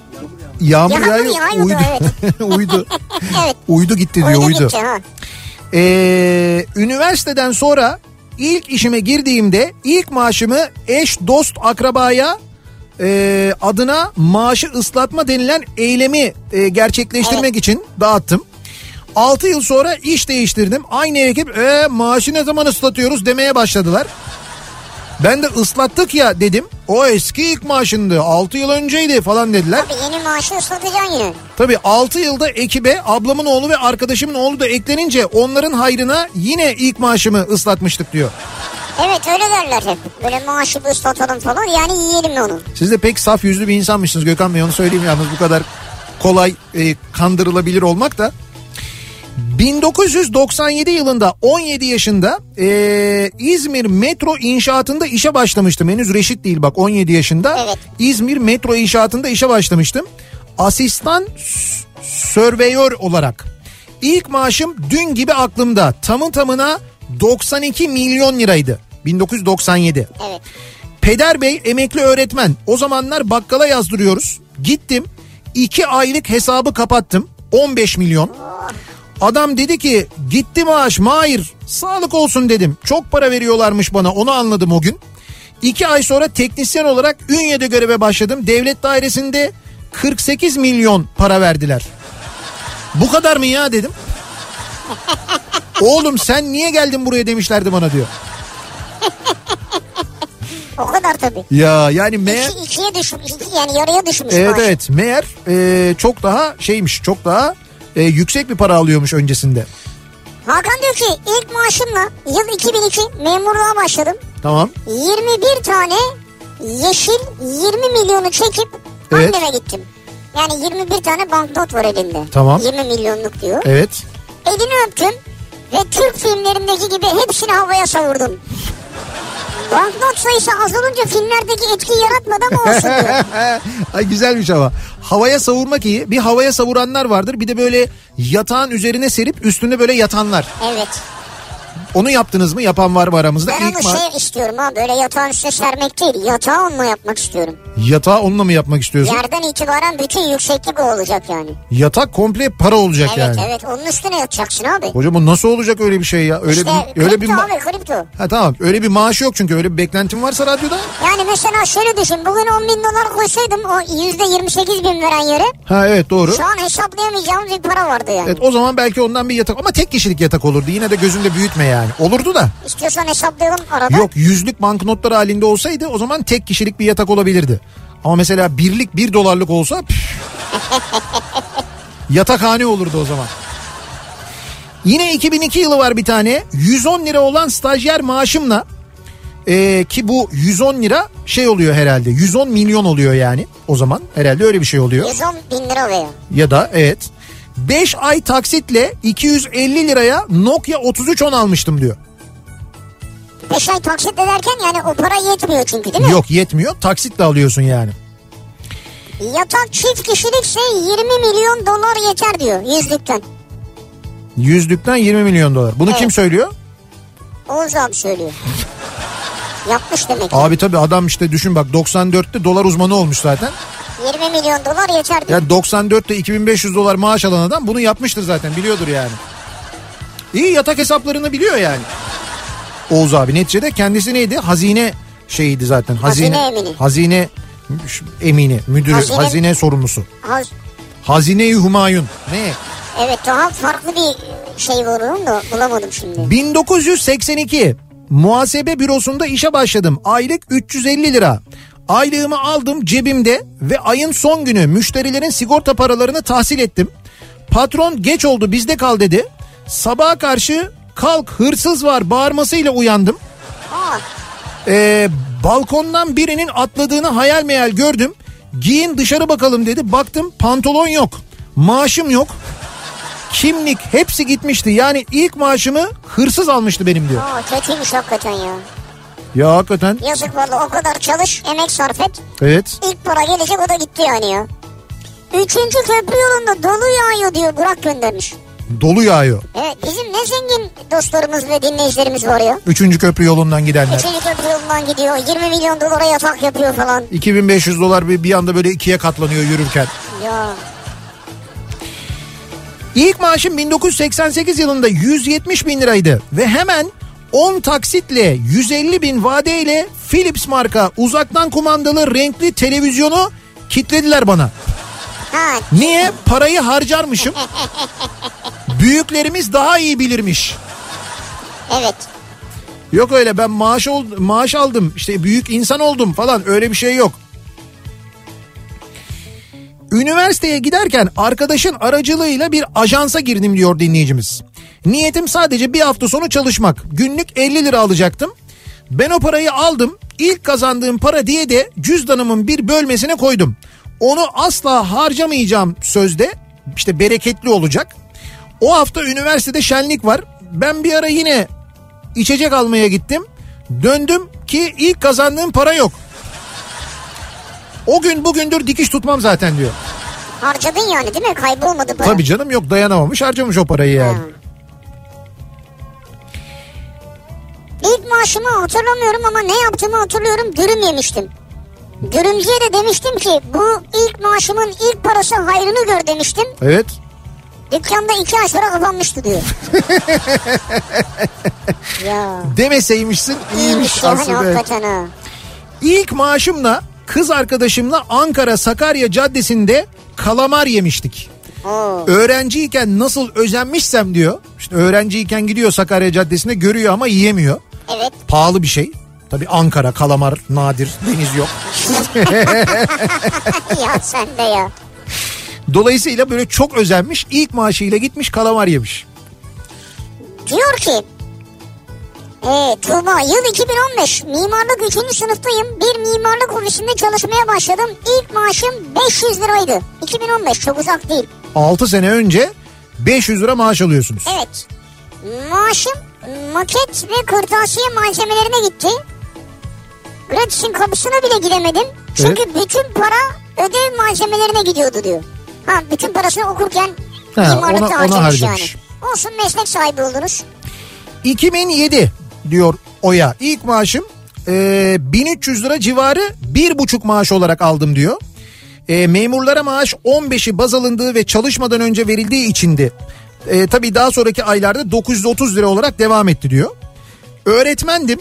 Speaker 2: yağmur
Speaker 3: Yağmur
Speaker 2: yağıyor.
Speaker 3: yağıyordu,
Speaker 2: Uydu. uydu.
Speaker 3: Evet.
Speaker 2: Uydu gitti diyor
Speaker 3: Oydu
Speaker 2: uydu.
Speaker 3: gitti ha.
Speaker 2: Ee, üniversiteden sonra ilk işime girdiğimde ilk maaşımı eş, dost, akrabaya e, adına maaşı ıslatma denilen eylemi e, gerçekleştirmek için dağıttım. 6 yıl sonra iş değiştirdim. Aynı ekip e, maaşı ne zaman ıslatıyoruz demeye başladılar. Ben de ıslattık ya dedim. O eski ilk maaşındı. 6 yıl önceydi falan dediler.
Speaker 3: Abi yeni maaşı ıslatacaksın yine.
Speaker 2: Tabii 6 yılda ekibe ablamın oğlu ve arkadaşımın oğlu da eklenince onların hayrına yine ilk maaşımı ıslatmıştık diyor.
Speaker 3: Evet öyle derler hep. Böyle maaşı bir ıslatalım falan yani yiyelim onu.
Speaker 2: Siz de pek saf yüzlü bir insanmışsınız Gökhan Bey onu söyleyeyim yalnız bu kadar kolay e, kandırılabilir olmak da. 1997 yılında 17 yaşında e, İzmir metro inşaatında işe başlamıştım. Henüz reşit değil bak 17 yaşında.
Speaker 3: Evet.
Speaker 2: İzmir metro inşaatında işe başlamıştım. Asistan s- sörveyör olarak. İlk maaşım dün gibi aklımda. Tamı tamına 92 milyon liraydı. 1997.
Speaker 3: Evet.
Speaker 2: Peder Bey emekli öğretmen. O zamanlar bakkala yazdırıyoruz. Gittim. 2 aylık hesabı kapattım. 15 milyon. Adam dedi ki gitti maaş mahir sağlık olsun dedim. Çok para veriyorlarmış bana onu anladım o gün. 2 ay sonra teknisyen olarak Ünye'de göreve başladım. Devlet dairesinde 48 milyon para verdiler. Bu kadar mı ya dedim. Oğlum sen niye geldin buraya demişlerdi bana diyor.
Speaker 3: O kadar tabii.
Speaker 2: Ya yani meğer...
Speaker 3: İki, ikiye düşmüş. iki- yani yarıya düşmüş
Speaker 2: Evet
Speaker 3: maaş.
Speaker 2: evet meğer e, çok daha şeymiş çok daha e, yüksek bir para alıyormuş öncesinde.
Speaker 3: Hakan diyor ki ilk maaşımla yıl 2002 memurluğa başladım.
Speaker 2: Tamam
Speaker 3: 21 tane yeşil 20 milyonu çekip
Speaker 2: Evet.
Speaker 3: anneme gittim. Yani 21 tane banknot var elinde.
Speaker 2: Tamam. E-
Speaker 3: 20 milyonluk diyor.
Speaker 2: evet
Speaker 3: Elini öptüm ve Türk filmlerindeki gibi hepsini havaya savurdum. Banknot sayısı az olunca filmlerdeki etki yaratmadı ama olsun diyor.
Speaker 2: Ay güzelmiş ama. Havaya savurmak iyi. Bir havaya savuranlar vardır. Bir de böyle yatağın üzerine serip üstüne böyle yatanlar.
Speaker 3: Evet.
Speaker 2: Onu yaptınız mı? Yapan var mı aramızda?
Speaker 3: Ben onu
Speaker 2: ma-
Speaker 3: şey istiyorum ha böyle yatağın üstüne sermek değil yatağı onunla yapmak istiyorum.
Speaker 2: Yatağı onunla mı yapmak istiyorsun?
Speaker 3: Yerden itibaren bütün yükseklik o olacak yani.
Speaker 2: Yatak komple para olacak
Speaker 3: Evet
Speaker 2: yani.
Speaker 3: evet onun üstüne yatacaksın abi.
Speaker 2: Hocam bu nasıl olacak öyle bir şey ya? Öyle
Speaker 3: işte
Speaker 2: bir öyle
Speaker 3: kripto
Speaker 2: bir ma-
Speaker 3: abi kripto.
Speaker 2: Ha tamam. Öyle bir maaşı yok çünkü. Öyle bir beklentim varsa radyoda.
Speaker 3: Yani mesela şöyle düşün bugün 10 bin dolar koysaydım o %28 bin veren yere
Speaker 2: Ha evet doğru.
Speaker 3: şu an hesaplayamayacağımız bir para vardı yani.
Speaker 2: Evet o zaman belki ondan bir yatak ama tek kişilik yatak olurdu. Yine de gözünde büyütme yani. Olurdu da.
Speaker 3: İstiyorsan hesaplayalım arada.
Speaker 2: Yok yüzlük banknotlar halinde olsaydı o zaman tek kişilik bir yatak olabilirdi. Ama mesela birlik bir dolarlık olsa püf. yatakhane olurdu o zaman. Yine 2002 yılı var bir tane. 110 lira olan stajyer maaşımla ee, ki bu 110 lira şey oluyor herhalde. 110 milyon oluyor yani o zaman. Herhalde öyle bir şey oluyor.
Speaker 3: 110 bin lira oluyor.
Speaker 2: Ya da evet. 5 ay taksitle 250 liraya Nokia 3310 almıştım diyor.
Speaker 3: 5 ay taksit ederken yani o para yetmiyor çünkü değil mi?
Speaker 2: Yok yetmiyor taksitle alıyorsun yani.
Speaker 3: Yatak çift kişilikse 20 milyon dolar yeter diyor yüzlükten.
Speaker 2: Yüzlükten 20 milyon dolar. Bunu
Speaker 3: Evet.
Speaker 2: kim söylüyor?
Speaker 3: Oğuz abi söylüyor. Yapmış demek ki.
Speaker 2: Abi tabii adam işte düşün bak 94'te dolar uzmanı olmuş zaten.
Speaker 3: 20 milyon dolar yeter diyor.
Speaker 2: Yani 94'te 2500 dolar maaş alan adam bunu yapmıştır zaten biliyordur yani. İyi yatak hesaplarını biliyor yani. Oğuz abi neticede kendisi neydi? Hazine şeyiydi zaten. Hazine,
Speaker 3: Hazine emini.
Speaker 2: Hazine emini, müdürü,
Speaker 3: Hazine-
Speaker 2: hazine sorumlusu.
Speaker 3: Az-
Speaker 2: Hazine-i Humayun. Ne?
Speaker 3: Evet daha farklı bir şey bulurum da bulamadım şimdi.
Speaker 2: 1982 muhasebe bürosunda işe başladım. Aylık 350 lira. Aylığımı aldım cebimde ve ayın son günü müşterilerin sigorta paralarını tahsil ettim. Patron geç oldu bizde kal dedi. Sabaha karşı kalk hırsız var bağırmasıyla uyandım.
Speaker 3: Aa,
Speaker 2: Ee, balkondan birinin atladığını hayal meyal gördüm. Giyin dışarı bakalım dedi. Baktım pantolon yok. Maaşım yok. Kimlik hepsi gitmişti. Yani ilk maaşımı hırsız almıştı benim diyor.
Speaker 3: Aa kötüymüş hakikaten ya.
Speaker 2: Ya hakikaten.
Speaker 3: Yazık valla o kadar çalış, emek sarf et.
Speaker 2: Evet.
Speaker 3: İlk para gelecek o da gitti yani ya. Üçüncü köprü yolunda dolu yağıyor diyor Burak göndermiş.
Speaker 2: Dolu yağıyor.
Speaker 3: Evet bizim ne zengin dostlarımız ve dinleyicilerimiz var ya.
Speaker 2: Üçüncü köprü yolundan gidenler.
Speaker 3: Üçüncü köprü yolundan gidiyor 20 milyon dolara yatak yapıyor falan.
Speaker 2: 2500 dolar bir, bir anda böyle ikiye katlanıyor yürürken.
Speaker 3: Ya
Speaker 2: İlk maaşım 1988 yılında 170 bin liraydı ve hemen 10 taksitle 150 bin vadeyle Philips marka uzaktan kumandalı renkli televizyonu kitlediler bana.
Speaker 3: ha
Speaker 2: Niye? Parayı harcarmışım. Büyüklerimiz daha iyi bilirmiş.
Speaker 3: evet.
Speaker 2: Yok öyle ben maaş ol, maaş aldım işte büyük insan oldum falan öyle bir şey yok. Üniversiteye giderken arkadaşın aracılığıyla bir ajansa girdim diyor dinleyicimiz. Niyetim sadece bir hafta sonu çalışmak. Günlük 50 lira alacaktım. Ben o parayı aldım. İlk kazandığım para diye de cüzdanımın bir bölmesine koydum. Onu asla harcamayacağım sözde. İşte bereketli olacak. O hafta üniversitede şenlik var. Ben bir ara yine İçecek almaya gittim. Döndüm ki ilk kazandığım para yok. O gün bugündür dikiş tutmam zaten diyor.
Speaker 3: Harcadın yani değil mi? Kaybolmadı para.
Speaker 2: Tabii canım yok dayanamamış harcamış o parayı yani.
Speaker 3: İlk maaşımı hatırlamıyorum ama ne yaptığımı hatırlıyorum. Dürüm yemiştim. Dürümcüye de demiştim ki bu ilk maaşımın ilk parası hayrını gör demiştim.
Speaker 2: Evet.
Speaker 3: Dükkanda iki ay sonra kapanmıştı diyor. ya
Speaker 2: Demeseymişsin iyiymiş
Speaker 3: ya hani
Speaker 2: aslında. evet.
Speaker 3: hakikaten ha.
Speaker 2: İlk maaşımla kız arkadaşımla Ankara Sakarya Caddesi'nde kalamar yemiştik.
Speaker 3: Oo.
Speaker 2: Öğrenciyken nasıl özenmişsem diyor. İşte öğrenciyken gidiyor Sakarya Caddesi'nde görüyor ama yiyemiyor.
Speaker 3: Evet.
Speaker 2: Pahalı bir şey. Tabii Ankara kalamar nadir deniz yok.
Speaker 3: ya sen de ya.
Speaker 2: Dolayısıyla böyle çok özenmiş. ilk maaşıyla gitmiş kalamar yemiş.
Speaker 3: Diyor ki ee, Tuğba yıl 2015 mimarlık 3. sınıftayım bir mimarlık ofisinde çalışmaya başladım İlk maaşım 500 liraydı 2015 çok uzak değil
Speaker 2: 6 sene önce 500 lira maaş alıyorsunuz.
Speaker 3: evet maaşım maket ve kırtasiye malzemelerine gitti Gratis'in kapısına bile giremedim çünkü bütün para ödev malzemelerine gidiyordu diyor ha bütün parasını okurken
Speaker 2: Ha,
Speaker 3: mimarlıkta
Speaker 2: ona- ona
Speaker 3: harcamış,
Speaker 2: harcamış.
Speaker 3: yani olsun meslek sahibi oluruz
Speaker 2: 2007 diyor Oya. İlk maaşım e, 1300 lira civarı bir buçuk maaş olarak aldım diyor. E, memurlara maaş 15'i baz alındığı ve çalışmadan önce verildiği içindi. E, tabii daha sonraki aylarda 930 lira olarak devam etti diyor. Öğretmendim.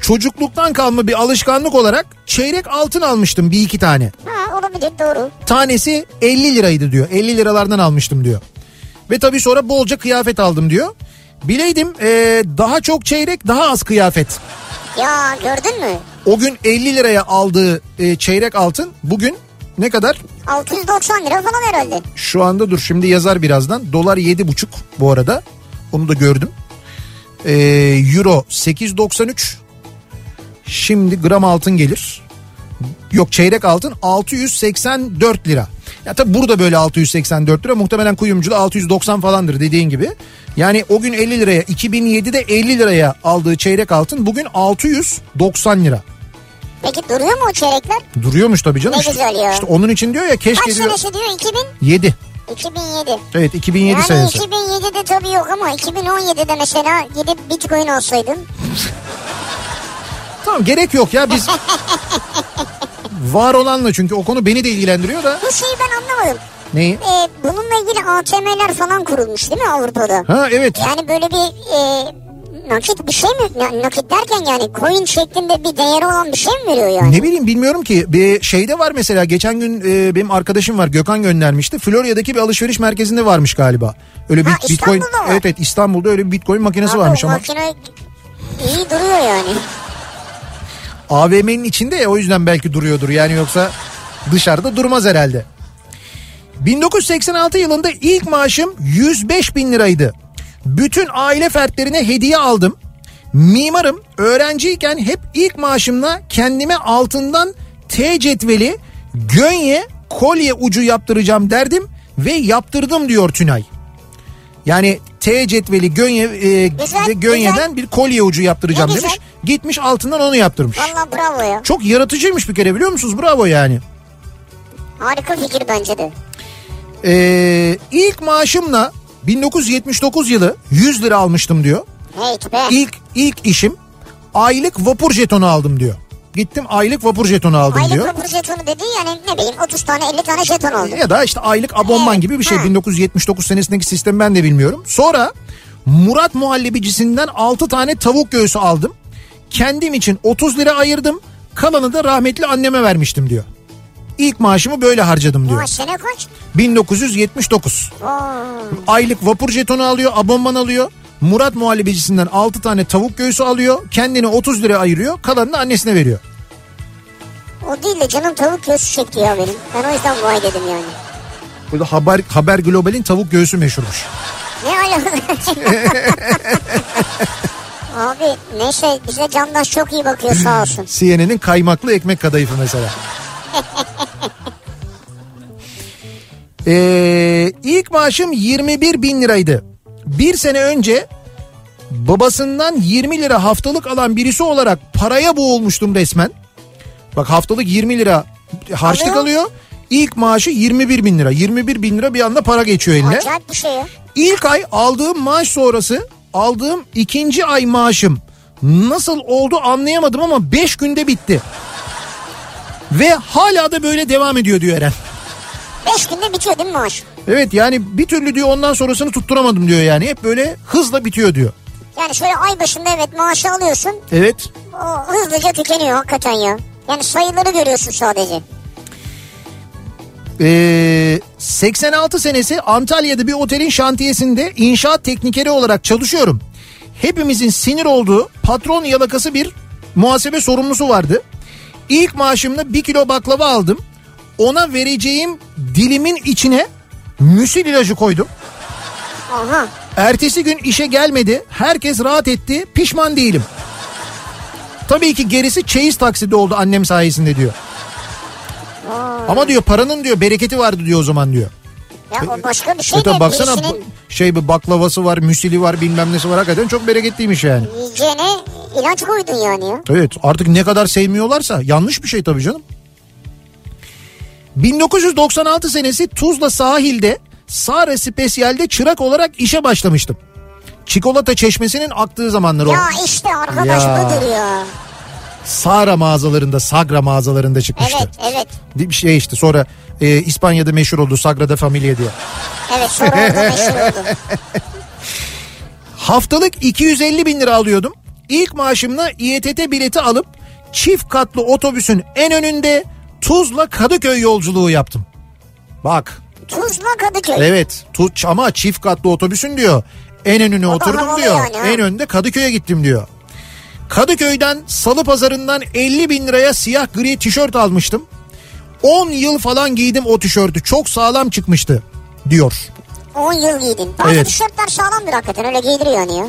Speaker 2: Çocukluktan kalma bir alışkanlık olarak çeyrek altın almıştım bir iki tane.
Speaker 3: ha olabilir doğru
Speaker 2: tanesi 50 liraydı diyor. 50 liralardan almıştım diyor. Ve tabii sonra bolca kıyafet aldım diyor. Bileydim eee, daha çok çeyrek daha az kıyafet.
Speaker 3: ya gördün mü
Speaker 2: O gün 50 liraya aldığı eee, çeyrek altın bugün ne kadar?
Speaker 3: 690 lira falan herhalde.
Speaker 2: Şu anda dur şimdi yazar birazdan. Dolar 7,5 bu arada. Onu da gördüm. Eee, Euro 8,93. Şimdi gram altın gelir. Yok çeyrek altın 684 lira. Ya tabi burada böyle 684 lira muhtemelen kuyumcuda 690 falandır dediğin gibi. Yani o gün 50 liraya 2007'de 50 liraya aldığı çeyrek altın bugün 690 lira.
Speaker 3: Peki duruyor mu o çeyrekler?
Speaker 2: Duruyormuş tabii canım.
Speaker 3: Ne
Speaker 2: işte,
Speaker 3: güzel ya.
Speaker 2: işte onun için diyor ya
Speaker 3: Kaç
Speaker 2: keşke diyor
Speaker 3: senesi diyor 2000?
Speaker 2: 7.
Speaker 3: 2007.
Speaker 2: Evet 2007
Speaker 3: yani
Speaker 2: senesi.
Speaker 3: 2007'de tabii yok ama 2017'de mesela gidip bitcoin olsaydın.
Speaker 2: Tamam gerek yok ya biz var olanla çünkü o konu beni de ilgilendiriyor da
Speaker 3: Bu şeyi ben anlamadım.
Speaker 2: neyi?
Speaker 3: Ee, bununla ilgili ATM'ler falan kurulmuş değil mi Avrupa'da?
Speaker 2: Ha evet
Speaker 3: Yani böyle bir e, nakit bir şey mi? Na- Nakit derken yani coin şeklinde bir değeri olan bir şey mi veriyor yani?
Speaker 2: ne bileyim bilmiyorum ki bir şeyde var mesela geçen gün e, benim arkadaşım var Gökhan göndermişti Florya'daki bir alışveriş merkezinde varmış galiba öyle bir
Speaker 3: Ha,
Speaker 2: bitcoin
Speaker 3: İstanbul'da var.
Speaker 2: evet evet İstanbul'da öyle bir bitcoin makinesi
Speaker 3: Abi
Speaker 2: varmış
Speaker 3: o
Speaker 2: ama
Speaker 3: Makine iyi duruyor yani.
Speaker 2: AVM'nin içinde ya o yüzden belki duruyordur yani yoksa dışarıda durmaz herhalde. 1986 yılında ilk maaşım 105 bin liraydı. Bütün aile fertlerine hediye aldım. Mimarım öğrenciyken hep ilk maaşımla kendime altından T cetveli gönye kolye ucu yaptıracağım derdim ve yaptırdım diyor Tünay. Yani T cetveli gönye, e,
Speaker 3: Güzel,
Speaker 2: gönyeden
Speaker 3: güzel.
Speaker 2: bir kolye ucu yaptıracağım
Speaker 3: Ne
Speaker 2: demiş.
Speaker 3: güzel.
Speaker 2: Gitmiş altından onu yaptırmış.
Speaker 3: Valla bravo ya.
Speaker 2: Çok yaratıcıymış bir kere biliyor musunuz? Bravo yani.
Speaker 3: Harika fikir bence de.
Speaker 2: Ee, ilk maaşımla 1979 yılı 100 lira almıştım diyor.
Speaker 3: Evet be.
Speaker 2: İlk ilk işim aylık vapur jetonu aldım diyor. Gittim aylık vapur jetonu aldım
Speaker 3: Aylık
Speaker 2: diyor.
Speaker 3: vapur jetonu dediğin yani ne bileyim 30 tane 50 tane jeton oldu.
Speaker 2: Ya da işte aylık abonman
Speaker 3: Evet,
Speaker 2: gibi bir şey.
Speaker 3: ha.
Speaker 2: 1979 senesindeki sistemi ben de bilmiyorum. Sonra Murat Muhallebicisinden 6 tane tavuk göğsü aldım. Kendim için 30 lira ayırdım. Kalanı da rahmetli anneme vermiştim diyor. İlk maaşımı böyle harcadım
Speaker 3: Ama
Speaker 2: diyor.
Speaker 3: sene kaç?
Speaker 2: 1979.
Speaker 3: Oo.
Speaker 2: Aylık vapur jetonu alıyor, abonman alıyor. Murat muhallebicisinden 6 tane tavuk göğsü alıyor. Kendine 30 lira ayırıyor. Kalanını annesine veriyor.
Speaker 3: O değil de canım tavuk göğsü çekti ya benim. Ben o yüzden vay dedim yani.
Speaker 2: Burada Haber, Haber Global'in tavuk göğsü meşhurmuş.
Speaker 3: Ne alakası? Abi neyse bize Candaş çok iyi bakıyor sağ olsun.
Speaker 2: CNN'in kaymaklı ekmek kadayıfı mesela. ee, ilk maaşım 21 bin liraydı. Bir sene önce babasından 20 lira haftalık alan birisi olarak paraya boğulmuştum resmen. Bak haftalık 20 lira harçlık
Speaker 3: Alıyor.
Speaker 2: alıyor. İlk maaşı 21 bin lira. 21 bin lira bir anda para geçiyor eline.
Speaker 3: Acayip bir şey ya.
Speaker 2: İlk ay aldığım maaş sonrası aldığım ikinci ay maaşım nasıl oldu anlayamadım ama 5 günde bitti. Ve hala da böyle devam ediyor diyor Eren.
Speaker 3: 5 günde bitiyor değil mi maaş?
Speaker 2: Evet yani bir türlü diyor ondan sonrasını tutturamadım diyor yani. Hep böyle hızla bitiyor diyor.
Speaker 3: Yani şöyle ay başında evet maaşı alıyorsun.
Speaker 2: Evet.
Speaker 3: O hızlıca tükeniyor hakikaten ya. Yani sayıları görüyorsun sadece.
Speaker 2: Ee, 86 senesi Antalya'da bir otelin şantiyesinde inşaat teknikeri olarak çalışıyorum. Hepimizin sinir olduğu patron yalakası bir muhasebe sorumlusu vardı. İlk maaşımla bir kilo baklava aldım. Ona vereceğim dilimin içine müsil ilacı koydum.
Speaker 3: Aha.
Speaker 2: Ertesi gün işe gelmedi. Herkes rahat etti. Pişman değilim. Tabii ki gerisi çeyiz taksidi oldu annem sayesinde diyor. Ama diyor paranın diyor bereketi vardı diyor o zaman diyor.
Speaker 3: Ya o başka bir şey
Speaker 2: Şey
Speaker 3: de
Speaker 2: baksana
Speaker 3: birisinin
Speaker 2: bu- şey bir baklavası var, müsili var, bilmem nesi var. Hakikaten çok bereketliymiş yani.
Speaker 3: yiyeceğine ilaç koydun yani ya.
Speaker 2: Evet artık ne kadar sevmiyorlarsa yanlış bir şey tabii canım. 1996 senesi Tuzla sahilde Sare Spesiyel'de çırak olarak işe başlamıştım. Çikolata çeşmesinin aktığı zamanlar o.
Speaker 3: Ya işte arkadaş
Speaker 2: Ya.
Speaker 3: budur ya.
Speaker 2: Sara mağazalarında, Sagra mağazalarında çıkmıştı.
Speaker 3: Evet evet.
Speaker 2: Bir şey işte sonra e, İspanya'da meşhur oldu Sagrada Familia diye.
Speaker 3: Evet sonra orada meşhur oldum.
Speaker 2: Haftalık 250 bin lira alıyordum. İlk maaşımla İETT bileti alıp çift katlı otobüsün en önünde Tuzla Kadıköy yolculuğu yaptım. Bak
Speaker 3: Tuzla Kadıköy.
Speaker 2: evet tu- ama çift katlı otobüsün diyor. En önüne oturdum
Speaker 3: havalı
Speaker 2: diyor.
Speaker 3: yani, ha.
Speaker 2: En önde Kadıköy'e gittim diyor. Kadıköy'den salı pazarından 50 bin liraya siyah gri tişört almıştım. 10 yıl falan giydim o tişörtü çok sağlam çıkmıştı diyor.
Speaker 3: 10 yıl giydin. Bazı
Speaker 2: Evet.
Speaker 3: tişörtler sağlamdır hakikaten öyle giydiriyor hani ya.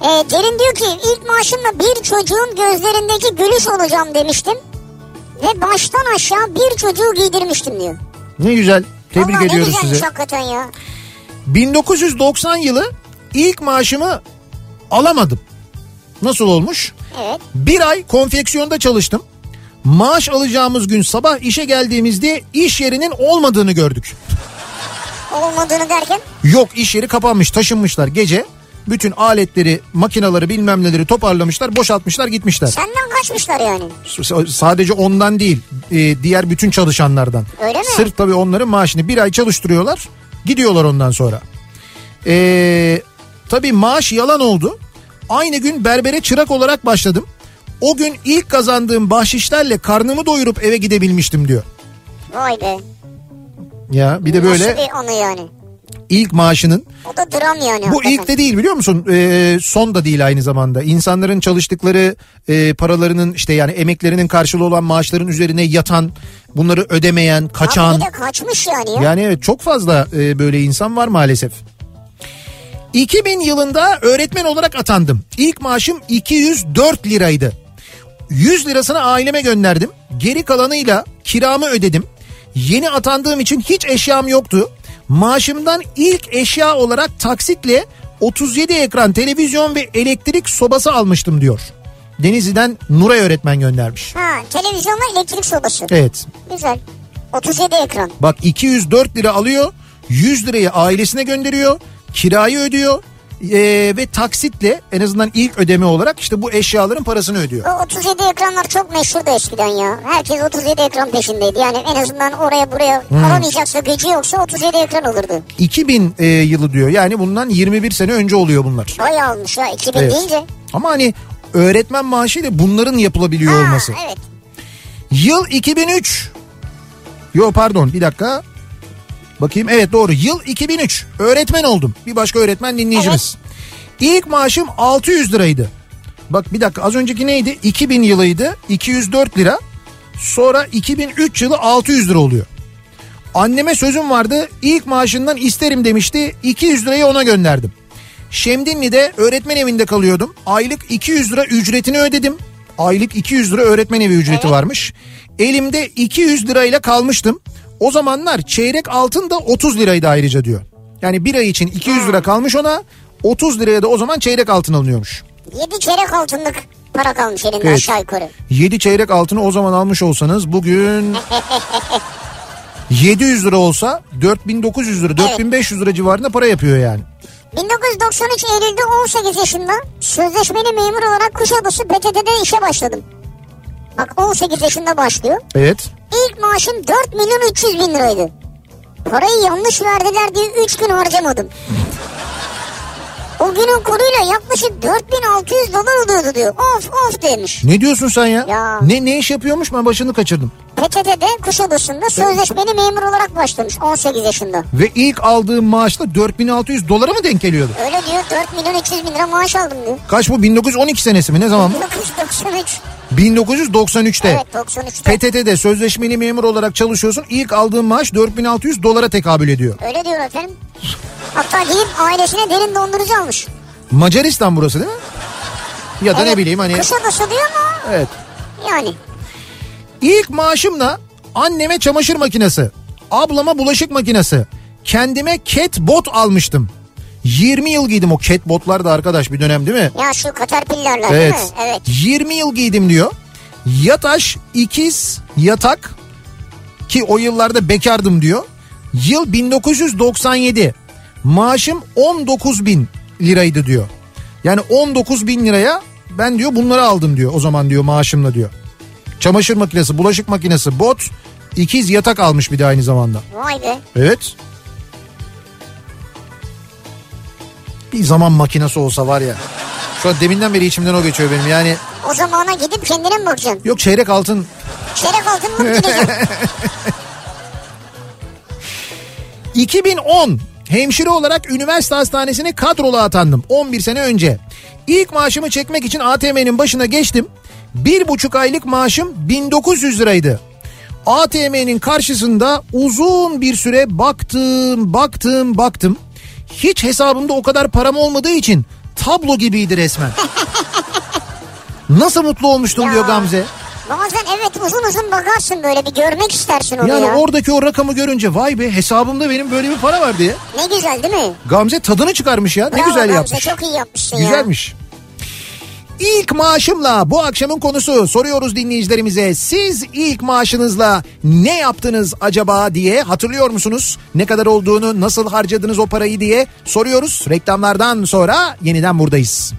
Speaker 3: Ee, Derin diyor ki ilk maaşımla bir çocuğun gözlerindeki gülüş olacağım demiştim. Ve baştan aşağı bir çocuğu giydirmiştim diyor.
Speaker 2: Ne güzel tebrik
Speaker 3: Vallahi
Speaker 2: ediyoruz
Speaker 3: ne güzelmiş
Speaker 2: sizi.
Speaker 3: hakikaten ya.
Speaker 2: 1990 yılı ilk maaşımı alamadım. Nasıl olmuş?
Speaker 3: Evet.
Speaker 2: Bir ay konfeksiyonda çalıştım. Maaş alacağımız gün sabah işe geldiğimizde iş yerinin olmadığını gördük.
Speaker 3: Olmadığını derken
Speaker 2: Yok iş yeri kapanmış taşınmışlar gece. Bütün aletleri, makinaları bilmem neleri toparlamışlar, boşaltmışlar gitmişler.
Speaker 3: senden kaçmışlar yani.
Speaker 2: S- Sadece ondan değil e, diğer bütün çalışanlardan.
Speaker 3: Öyle mi?
Speaker 2: Sırf tabii onların maaşını bir ay çalıştırıyorlar gidiyorlar ondan sonra. E, tabii maaş yalan oldu. Aynı gün berbere çırak olarak başladım. O gün ilk kazandığım bahşişlerle karnımı doyurup eve gidebilmiştim diyor.
Speaker 3: Vay be.
Speaker 2: Ya bir de böyle
Speaker 3: Nasıl bir anı yani.
Speaker 2: ilk maaşının
Speaker 3: O da dram yani.
Speaker 2: Bu
Speaker 3: hakikaten.
Speaker 2: ilk de değil biliyor musun? Ee, son da değil aynı zamanda. İnsanların çalıştıkları e, paralarının işte yani emeklerinin karşılığı olan maaşların üzerine yatan, bunları ödemeyen,
Speaker 3: Abi
Speaker 2: kaçan.
Speaker 3: bir de kaçmış yani ya.
Speaker 2: Yani evet çok fazla e, böyle insan var maalesef. 2000 yılında öğretmen olarak atandım. İlk maaşım 204 liraydı. 100 lirasını aileme gönderdim. Geri kalanıyla kiramı ödedim. Yeni atandığım için hiç eşyam yoktu. Maaşımdan ilk eşya olarak taksitle 37 ekran televizyon ve elektrik sobası almıştım diyor. Denizli'den Nuray öğretmen göndermiş.
Speaker 3: Ha televizyonla elektrik sobası.
Speaker 2: Evet
Speaker 3: Güzel. 37 ekran.
Speaker 2: Bak 204 lira alıyor. 100 lirayı ailesine gönderiyor. Kirayı ödüyor. eee, ve taksitle en azından ilk ödeme olarak işte bu eşyaların parasını ödüyor.
Speaker 3: O 37 ekranlar çok meşhurdu eskiden ya. Herkes 37 ekran peşindeydi. Yani en azından oraya buraya
Speaker 2: Hmm.
Speaker 3: alamayacaksa gücü yoksa 37 ekran olurdu.
Speaker 2: 2000 eee, e, yılı diyor. Yani bundan 21 sene önce oluyor bunlar.
Speaker 3: Bayağı olmuş ya 2000
Speaker 2: Evet.
Speaker 3: deyince.
Speaker 2: Ama hani öğretmen maaşıyla bunların yapılabiliyor
Speaker 3: Ha,
Speaker 2: olması.
Speaker 3: evet.
Speaker 2: Yıl 2003. Yo pardon bir dakika. Bakayım evet doğru yıl 2003 öğretmen oldum bir başka öğretmen dinleyicimiz. İlk maaşım 600 liraydı. Bak bir dakika az önceki neydi 2000 yılıydı 204 lira sonra 2003 yılı 600 lira oluyor. Anneme sözüm vardı ilk maaşından isterim demişti 200 lirayı ona gönderdim. Şemdinli'de öğretmen evinde kalıyordum. Aylık 200 lira ücretini ödedim. Aylık 200 lira öğretmen evi ücreti varmış. Elimde 200 lirayla kalmıştım. O zamanlar çeyrek altın da 30 liraydı ayrıca diyor. Yani bir ay için 200 lira kalmış ona 30 liraya da o zaman çeyrek altın alınıyormuş.
Speaker 3: 7 çeyrek altınlık para kalmış elinde
Speaker 2: Evet.
Speaker 3: aşağı yukarı.
Speaker 2: 7 çeyrek altını o zaman almış olsanız bugün 700 lira olsa 4900 lira 4500 lira civarında para yapıyor yani.
Speaker 3: 1993 Eylül'de 18 yaşında sözleşmeli memur olarak Kuşadası PTT'de işe başladım. Bak 18 yaşında başlıyor.
Speaker 2: Evet.
Speaker 3: İlk maaşım 4 milyon 300 bin liraydı. Parayı yanlış verdiler diye 3 gün harcamadım. O günün kuruyla yaklaşık 4600 dolar oluyordu diyor. Of of demiş.
Speaker 2: Ne diyorsun sen ya?
Speaker 3: Ya.
Speaker 2: Ne ne iş yapıyormuş ben başını kaçırdım.
Speaker 3: PTT'de Kuşadası'nda sözleşmeli memur olarak başlamış 18 yaşında.
Speaker 2: Ve ilk aldığım maaşla 4600 dolara mı denk geliyordu?
Speaker 3: Öyle diyor 4 milyon 300 bin lira maaş aldım diyor.
Speaker 2: Kaç bu 1912 senesi mi ne zaman bu?
Speaker 3: 1993.
Speaker 2: 1993'te.
Speaker 3: Evet 93'te.
Speaker 2: PTT'de sözleşmeli memur olarak çalışıyorsun. İlk aldığın maaş 4600 dolara tekabül ediyor.
Speaker 3: Öyle diyor efendim. Hatta gidip ailesine derin dondurucu almış.
Speaker 2: Macaristan burası değil mi? Ya da ne bileyim hani.
Speaker 3: Kuşadası diyor ama
Speaker 2: Evet.
Speaker 3: yani.
Speaker 2: İlk maaşımla anneme çamaşır makinesi, ablama bulaşık makinesi, kendime cat bot almıştım. 20 yıl giydim o cat botlar da arkadaş bir dönem değil mi?
Speaker 3: Ya şu Caterpillar'lar
Speaker 2: Evet.
Speaker 3: değil mi? Evet.
Speaker 2: 20 yıl giydim diyor. Yataş, ikiz, yatak ki o yıllarda bekardım diyor. Yıl 1997. Maaşım 19 bin liraydı diyor. Yani 19 bin liraya ben diyor bunları aldım diyor o zaman diyor maaşımla diyor. Çamaşır makinesi, bulaşık makinesi, bot, ikiz yatak almış bir de aynı zamanda.
Speaker 3: Vay be.
Speaker 2: Evet. Bir zaman makinesi olsa var ya. Şu an deminden beri içimden o geçiyor benim. Yani
Speaker 3: O zamana gidip kendine mi bakacaksın?
Speaker 2: yok çeyrek altın.
Speaker 3: Şeref altın mı gideceksin?
Speaker 2: 2010 hemşire olarak üniversite hastanesine kadrolu atandım 11 sene önce. İlk maaşımı çekmek için ATM'nin başına geçtim. Bir buçuk aylık maaşım 1900 liraydı. ATM'nin karşısında uzun bir süre baktım, baktım, baktım. Hiç hesabımda o kadar param olmadığı için tablo gibiydi resmen. Nasıl mutlu olmuştum
Speaker 3: Ya.
Speaker 2: diyor Gamze.
Speaker 3: Bazen evet uzun uzun bakarsın böyle bir görmek istersin onu
Speaker 2: Yani
Speaker 3: ya.
Speaker 2: oradaki o rakamı görünce vay be hesabımda benim böyle bir para var diye.
Speaker 3: Ne güzel değil mi?
Speaker 2: Gamze tadını çıkarmış ya. Ne
Speaker 3: Bravo
Speaker 2: güzel
Speaker 3: Gamze,
Speaker 2: yapmış.
Speaker 3: Çok iyi yapmışsın ya.
Speaker 2: Güzelmiş. İlk maaşımla bu akşamın konusu soruyoruz dinleyicilerimize. Siz ilk maaşınızla ne yaptınız acaba diye hatırlıyor musunuz? Ne kadar olduğunu, nasıl harcadınız o parayı diye soruyoruz. Reklamlardan sonra yeniden buradayız.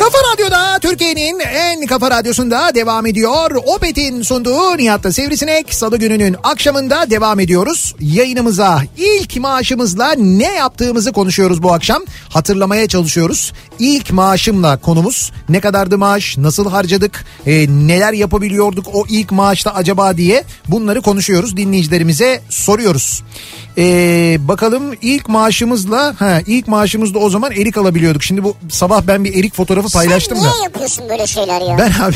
Speaker 2: Kafa Radyo'da Türkiye'nin en Kafa Radyosu'nda devam ediyor. Opet'in sunduğu Nihat'ta Sivrisinek Salı gününün akşamında devam ediyoruz. Yayınımıza ilk maaşımızla ne yaptığımızı konuşuyoruz bu akşam. Hatırlamaya çalışıyoruz. İlk maaşımla konumuz ne kadardı maaş, nasıl harcadık, e, neler yapabiliyorduk o ilk maaşta acaba diye bunları konuşuyoruz. Dinleyicilerimize soruyoruz. E, bakalım ilk maaşımızla, ha, ilk maaşımızda o zaman erik alabiliyorduk. Şimdi bu sabah ben bir erik fotoğrafı paylaştım
Speaker 3: Sen
Speaker 2: da.
Speaker 3: niye yapıyorsun böyle şeyler ya? Ben...
Speaker 2: Ben abi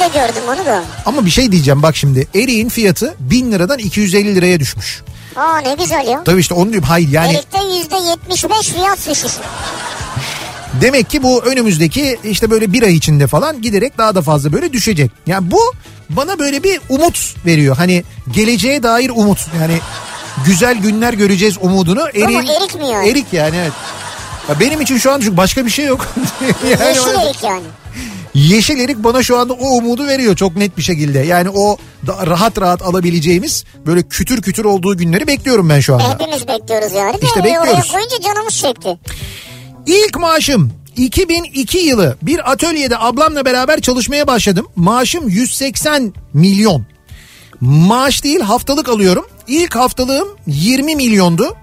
Speaker 3: de gördüm onu da.
Speaker 2: ama bir şey diyeceğim bak şimdi eriğin fiyatı 1000 liradan 250 liraya düşmüş.
Speaker 3: Aa ne güzel ya.
Speaker 2: Tabii işte onu diyorum hayır yani
Speaker 3: Erik'te yüzde yetmiş beş fiyat düşüşü.
Speaker 2: demek ki bu önümüzdeki işte böyle bir ay içinde falan giderek daha da fazla böyle düşecek. Yani bu bana böyle bir umut veriyor hani geleceğe dair umut yani güzel günler göreceğiz umudunu. Eriğin,
Speaker 3: erik mi yani?
Speaker 2: Erik yani evet. Ya benim için şu an çünkü başka bir şey yok. Yani
Speaker 3: Yeşil
Speaker 2: o-
Speaker 3: erik yani.
Speaker 2: Yeşil erik bana şu anda o umudu veriyor çok net bir şekilde. Yani o da rahat rahat alabileceğimiz böyle kütür kütür olduğu günleri bekliyorum ben şu anda.
Speaker 3: Hepimiz bekliyoruz yani.
Speaker 2: İşte
Speaker 3: Ee,
Speaker 2: bekliyoruz.
Speaker 3: Oraya koyunca canımız çekti.
Speaker 2: İlk maaşım 2002 yılı bir atölyede ablamla beraber çalışmaya başladım. Maaşım 180 milyon. Maaş değil haftalık alıyorum. İlk haftalığım 20 milyondu.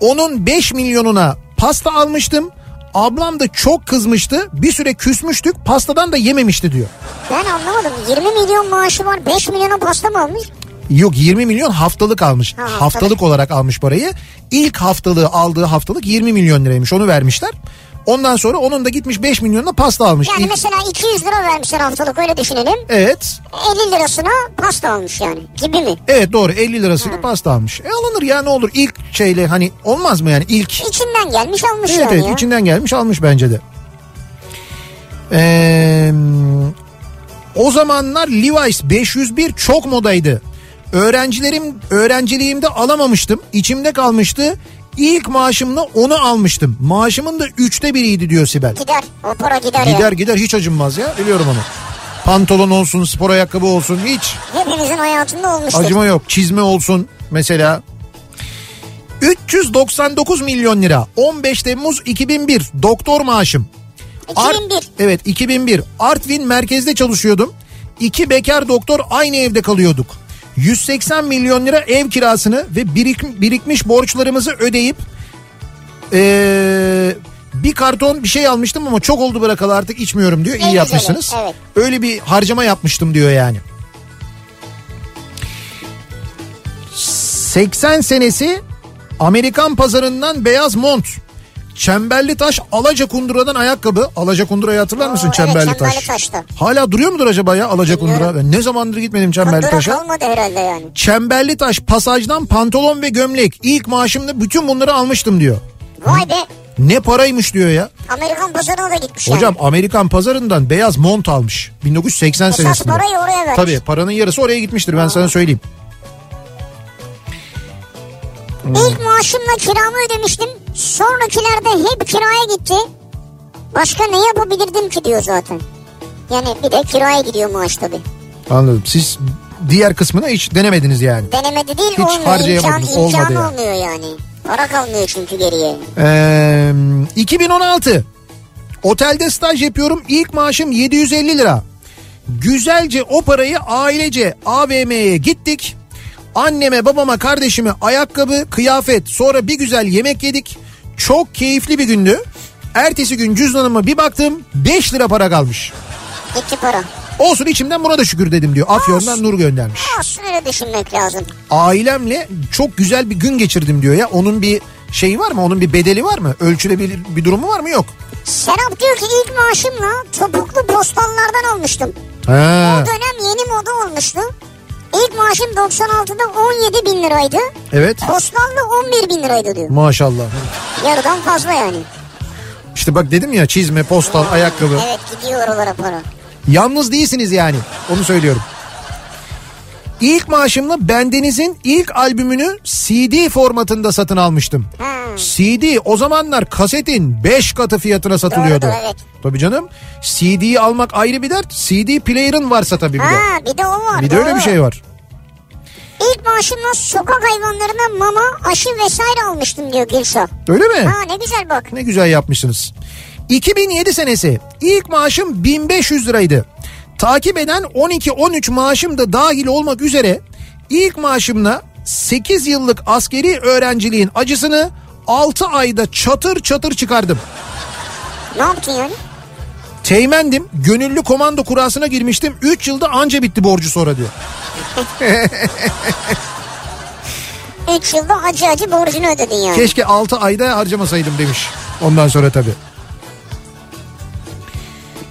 Speaker 2: Onun 5 milyonuna pasta almıştım. Ablam da çok kızmıştı. Bir süre küsmüştük. Pastadan da yememişti diyor.
Speaker 3: Ben anlamadım. 20 milyon maaşı var. 5 milyona pasta mı almış?
Speaker 2: Yok 20 milyon haftalık almış.
Speaker 3: Ha,
Speaker 2: haftalık.
Speaker 3: haftalık.
Speaker 2: olarak almış parayı. İlk haftalığı aldığı haftalık 20 milyon liraymış onu vermişler. Ondan sonra onun da gitmiş 5 milyonla pasta almış.
Speaker 3: Yani
Speaker 2: İlk-
Speaker 3: mesela 200 lira vermişler haftalık öyle düşünelim.
Speaker 2: Evet.
Speaker 3: 50 lirasına pasta almış yani gibi mi?
Speaker 2: Evet doğru 50 lirasını pasta almış. E alınır ya ne olur ilk şeyle hani olmaz mı yani ilk.
Speaker 3: İçinden gelmiş almış
Speaker 2: Evet
Speaker 3: yani
Speaker 2: evet
Speaker 3: ya.
Speaker 2: içinden gelmiş almış bence de. Ee, o zamanlar Levi's 501 çok modaydı. Öğrencilerim öğrenciliğimde alamamıştım. içimde kalmıştı. İlk maaşımla onu almıştım. Maaşımın da üçte biriydi diyor Sibel.
Speaker 3: Gider. O para gider,
Speaker 2: Gider
Speaker 3: ya.
Speaker 2: gider hiç acınmaz ya. Biliyorum onu. Pantolon olsun, spor ayakkabı olsun hiç.
Speaker 3: Hepimizin hayatında olmuştur.
Speaker 2: Acıma yok. Çizme olsun mesela. 399 milyon lira. 15 Temmuz 2001 doktor maaşım. Art-
Speaker 3: 2001.
Speaker 2: evet 2001. Artvin merkezde çalışıyordum. İki bekar doktor aynı evde kalıyorduk. 180 milyon lira ev kirasını ve birik- birikmiş borçlarımızı ödeyip ee, bir karton bir şey almıştım ama çok oldu bırakalı artık içmiyorum diyor.
Speaker 3: En
Speaker 2: İyi
Speaker 3: güzeli,
Speaker 2: yapmışsınız.
Speaker 3: evet.
Speaker 2: Öyle bir harcama yapmıştım diyor yani. 80 senesi Amerikan pazarından beyaz mont. Çemberli taş Alaca Kundura'dan ayakkabı. Alaca Kundura'yı hatırlar mısın
Speaker 3: Oo, evet,
Speaker 2: Çemberli taş?
Speaker 3: Çemberli Taş'ta.
Speaker 2: Hala duruyor mudur acaba ya Alaca Kundura? Ben ne zamandır gitmedim Çemberli
Speaker 3: Durak
Speaker 2: Taş'a.
Speaker 3: olmadı herhalde yani.
Speaker 2: Çemberli taş pasajdan pantolon ve gömlek. İlk maaşımda bütün bunları almıştım diyor.
Speaker 3: Vay be.
Speaker 2: Ne paraymış diyor ya.
Speaker 3: Amerikan pazarına da gitmiş
Speaker 2: Hocam Amerikan pazarından beyaz mont almış. 1980
Speaker 3: yani. Esas
Speaker 2: senesinde.
Speaker 3: parayı oraya vermiş.
Speaker 2: Tabii paranın yarısı oraya gitmiştir ben sana söyleyeyim.
Speaker 3: İlk maaşımla kiramı ödemiştim. Sonrakilerde hep kiraya gitti. Başka ne yapabilirdim ki diyor zaten. Yani bir de kiraya gidiyor maaş tabii.
Speaker 2: Anladım. Siz diğer kısmını hiç denemediniz yani.
Speaker 3: Denemedi değil
Speaker 2: Hiç
Speaker 3: olmuyor. İmkan,
Speaker 2: harcayamadınız, olmadı
Speaker 3: imkanı
Speaker 2: yani.
Speaker 3: olmuyor yani. Para kalmıyor çünkü geriye.
Speaker 2: Ee, 2016. Otelde staj yapıyorum. İlk maaşım 750 lira. Güzelce o parayı ailece AVM'ye gittik. Anneme, babama, kardeşime ayakkabı, kıyafet, sonra bir güzel yemek yedik. Çok keyifli bir gündü. Ertesi gün cüzdanıma bir baktım 5 lira para kalmış.
Speaker 3: Gitti para.
Speaker 2: Olsun içimden buna da şükür dedim diyor. Afyon'dan Nur göndermiş.
Speaker 3: Aslında öyle düşünmek lazım.
Speaker 2: ailemle çok güzel bir gün geçirdim diyor ya. Onun bir şeyi var mı? Onun bir bedeli var mı? Ölçülebilir bir durumu var mı? Yok.
Speaker 3: Serap diyor ki ilk maaşımla topuklu postallardan almıştım. O
Speaker 2: Ha,
Speaker 3: dönem yeni moda olmuştu. İlk maaşım 96'da 17 bin liraydı.
Speaker 2: evet.
Speaker 3: Postallı 11 bin liraydı diyor.
Speaker 2: Maşallah.
Speaker 3: Yarıdan fazla yani.
Speaker 2: İşte bak dedim ya çizme, postal, ayakkabı.
Speaker 3: Evet gidiyor oralara para.
Speaker 2: Yalnız değilsiniz yani. Onu söylüyorum. İlk maaşımla Bendeniz'in ilk albümünü CD formatında satın almıştım.
Speaker 3: Ha.
Speaker 2: CD o zamanlar kasetin 5 katı fiyatına satılıyordu.
Speaker 3: Doğrudur, evet.
Speaker 2: Tabii canım. CD'yi almak ayrı bir dert. CD player'ın varsa tabii bir de.
Speaker 3: Ha bir de o var.
Speaker 2: Bir de öyle
Speaker 3: doğru.
Speaker 2: bir şey var.
Speaker 3: İlk maaşımla sokak hayvanlarına mama, aşı vesaire almıştım diyor Gülşah.
Speaker 2: Öyle mi?
Speaker 3: Ha ne güzel bak.
Speaker 2: Ne güzel yapmışsınız. 2007 senesi ilk maaşım 1500 liraydı. Takip eden 12-13 maaşım da dahil olmak üzere ilk maaşımla 8 yıllık askeri öğrenciliğin acısını 6 ayda çatır çatır çıkardım.
Speaker 3: Ne yaptın yani?
Speaker 2: Teğmendim, gönüllü komando kurasına girmiştim. 3 yılda anca bitti borcu sonra diyor.
Speaker 3: 3 yılda acı acı borcunu ödedin yani.
Speaker 2: Keşke 6 ayda harcamasaydım demiş. Ondan sonra tabii.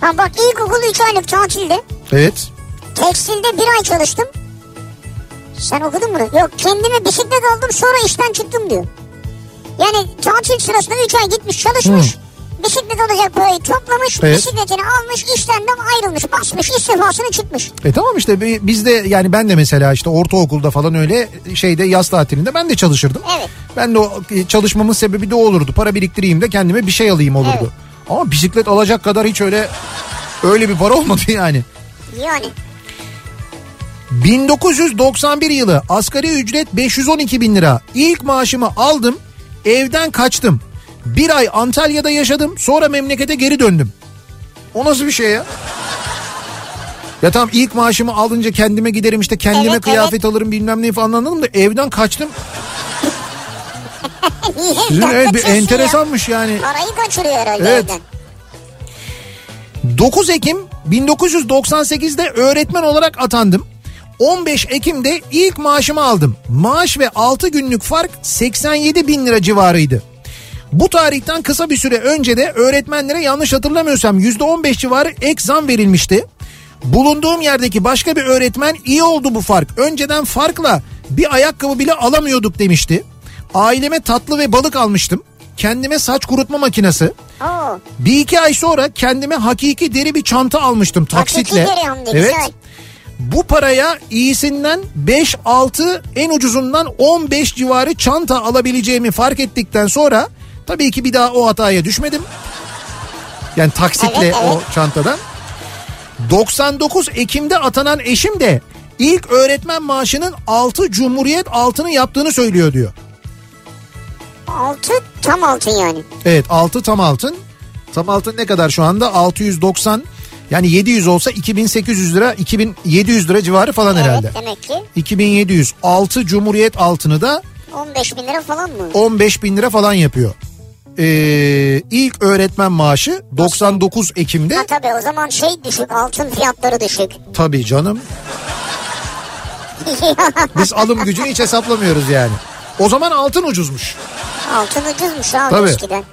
Speaker 3: Ha bak ilkokul 3 aylık tatilde.
Speaker 2: Evet.
Speaker 3: Tekstilde bir ay çalıştım. Sen okudun bunu. Yok kendime bisiklet aldım sonra işten çıktım diyor. Yani tatil sırasında 3 ay gitmiş çalışmış. Bisiklet olacak parayı toplamış.
Speaker 2: Evet.
Speaker 3: Bisikletini almış işten de ayrılmış. Basmış istifasını çıkmış.
Speaker 2: E tamam işte bi- biz de yani ben de mesela işte ortaokulda falan öyle şeyde yaz tatilinde ben de çalışırdım.
Speaker 3: Evet.
Speaker 2: Ben de o e, çalışmamın sebebi de o olurdu. Para biriktireyim de kendime bir şey alayım olurdu.
Speaker 3: Evet.
Speaker 2: Ama bisiklet alacak kadar hiç öyle öyle bir para olmadı yani.
Speaker 3: Yani
Speaker 2: 1991 yılı asgari ücret 512 bin lira. İlk maaşımı aldım evden kaçtım. Bir ay Antalya'da yaşadım sonra memlekete geri döndüm. O nasıl bir şey ya? Ya tamam ilk maaşımı alınca kendime giderim işte kendime
Speaker 3: Evet,
Speaker 2: kıyafet alırım bilmem ne falan anladım da evden kaçtım.
Speaker 3: niye
Speaker 2: Sizin
Speaker 3: evden
Speaker 2: evet bir
Speaker 3: kaçıyorsun ya?
Speaker 2: enteresanmış yani.
Speaker 3: şey Parayı kaçırıyor herhalde
Speaker 2: Evet.
Speaker 3: evden.
Speaker 2: 9 Ekim 1998'de öğretmen olarak atandım. 15 Ekim'de ilk maaşımı aldım. Maaş ve 6 günlük fark 87 bin lira civarıydı. Bu tarihten kısa bir süre önce de öğretmenlere yanlış hatırlamıyorsam %15 civarı ek zam verilmişti. Bulunduğum yerdeki başka bir öğretmen iyi oldu bu fark. Önceden farkla bir ayakkabı bile alamıyorduk demişti. Aileme tatlı ve balık almıştım. Kendime saç kurutma makinesi.
Speaker 3: Oo.
Speaker 2: Bir iki ay sonra kendime hakiki deri bir çanta almıştım taksitle.
Speaker 3: Hakiki deri hem de
Speaker 2: evet.
Speaker 3: güzel.
Speaker 2: Bu paraya iyisinden 5-6 en ucuzundan 15 civarı çanta alabileceğimi fark ettikten sonra tabii ki bir daha o hataya düşmedim. Yani taksitle
Speaker 3: Evet, evet.
Speaker 2: o çantadan. 99 Ekim'de atanan eşim de ilk öğretmen maaşının 6 Cumhuriyet altını yaptığını söylüyor diyor.
Speaker 3: Altı tam altın yani.
Speaker 2: Evet 6 tam altın. Tam altın ne kadar şu anda? 690 yani 700 olsa 2800 lira 2700 lira civarı falan herhalde.
Speaker 3: Evet demek ki
Speaker 2: 2700 6 Cumhuriyet altını da
Speaker 3: 15 bin lira falan mı?
Speaker 2: 15 bin lira falan yapıyor. Ee, ilk öğretmen maaşı 99 Ekim'de
Speaker 3: Ha tabii o zaman şey düşük altın fiyatları düşük.
Speaker 2: tabii canım biz alım gücünü hiç hesaplamıyoruz yani. O zaman altın ucuzmuş.
Speaker 3: altın ucuzmuş abi
Speaker 2: Tabii.
Speaker 3: eskiden.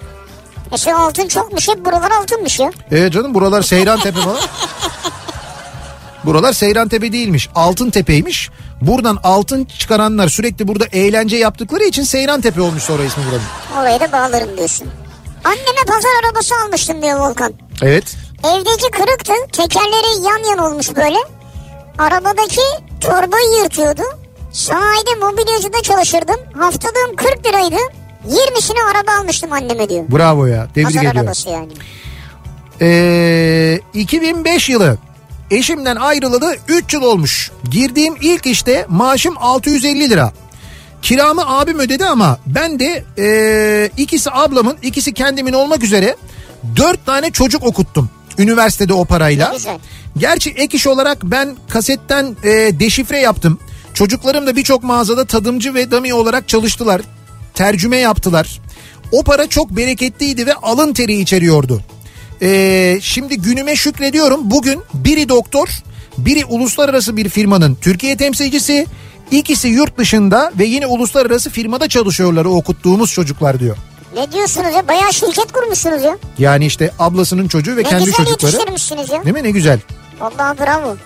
Speaker 3: E şu altın çokmuş hep buralar altınmış ya.
Speaker 2: Ee canım buralar Seyran Tepe falan. Buralar Seyran Tepe değilmiş. Altın Tepe'ymiş. Buradan altın çıkaranlar sürekli burada eğlence yaptıkları için Seyran Tepe olmuş sonra ismi buranın.
Speaker 3: Olayı da bağlarım diyorsun. Anneme pazar arabası almıştım diyor Volkan.
Speaker 2: Evet.
Speaker 3: Evdeki kırıktı tekerleri yan yan olmuş böyle. Arabadaki torbayı yırtıyordu. Sahilde mobilyacıda çalışırdım. Haftalığım 40 liraydı. 20'sini araba almıştım anneme diyor.
Speaker 2: Bravo ya. Tebrik
Speaker 3: Pazar
Speaker 2: ediyorum.
Speaker 3: arabası yani.
Speaker 2: Ee, 2005 yılı. Eşimden ayrılalı 3 yıl olmuş. Girdiğim ilk işte maaşım 650 lira. Kiramı abim ödedi ama ben de ee, ikisi ablamın ikisi kendimin olmak üzere 4 tane çocuk okuttum. Üniversitede o parayla.
Speaker 3: Ne güzel.
Speaker 2: Gerçi ek iş olarak ben kasetten ee, deşifre yaptım. Çocuklarım da birçok mağazada tadımcı ve dami olarak çalıştılar. Tercüme yaptılar. O para çok bereketliydi ve alın teri içeriyordu. Ee, şimdi günüme şükrediyorum. Bugün biri doktor, biri uluslararası bir firmanın Türkiye temsilcisi, ikisi yurt dışında ve yine uluslararası firmada çalışıyorlar o okuttuğumuz çocuklar diyor.
Speaker 3: Ne diyorsunuz ya? Bayağı şirket kurmuşsunuz ya.
Speaker 2: Yani işte ablasının çocuğu ve
Speaker 3: Ne
Speaker 2: kendi
Speaker 3: güzel
Speaker 2: çocukları.
Speaker 3: yetiştirmişsiniz ya.
Speaker 2: Değil mi ne güzel.
Speaker 3: Vallahi bravo.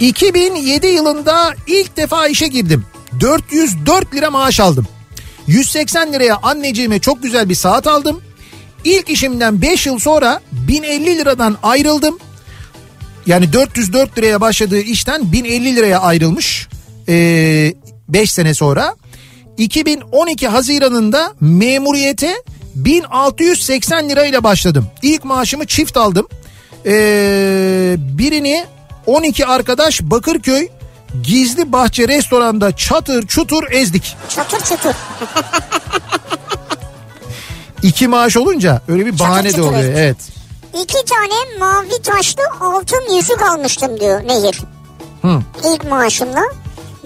Speaker 2: 2007 yılında ilk defa işe girdim. 404 lira maaş aldım. 180 liraya anneciğime çok güzel bir saat aldım. İlk işimden 5 yıl sonra 1050 liradan ayrıldım. Yani 404 liraya başladığı işten 1050 liraya ayrılmış. 5 sene sonra. 2012 Haziran'ında memuriyete 1680 lirayla başladım. İlk maaşımı çift aldım. Ee, birini 12 arkadaş Bakırköy Gizli Bahçe Restoran'da çatır çutur ezdik.
Speaker 3: Çatır çatır.
Speaker 2: İki maaş olunca öyle bir bahane de
Speaker 3: çutur
Speaker 2: oluyor.
Speaker 3: ezdik.
Speaker 2: Evet.
Speaker 3: iki tane mavi taşlı altın yüzük almıştım diyor Nehir.
Speaker 2: Hı.
Speaker 3: İlk maaşımla.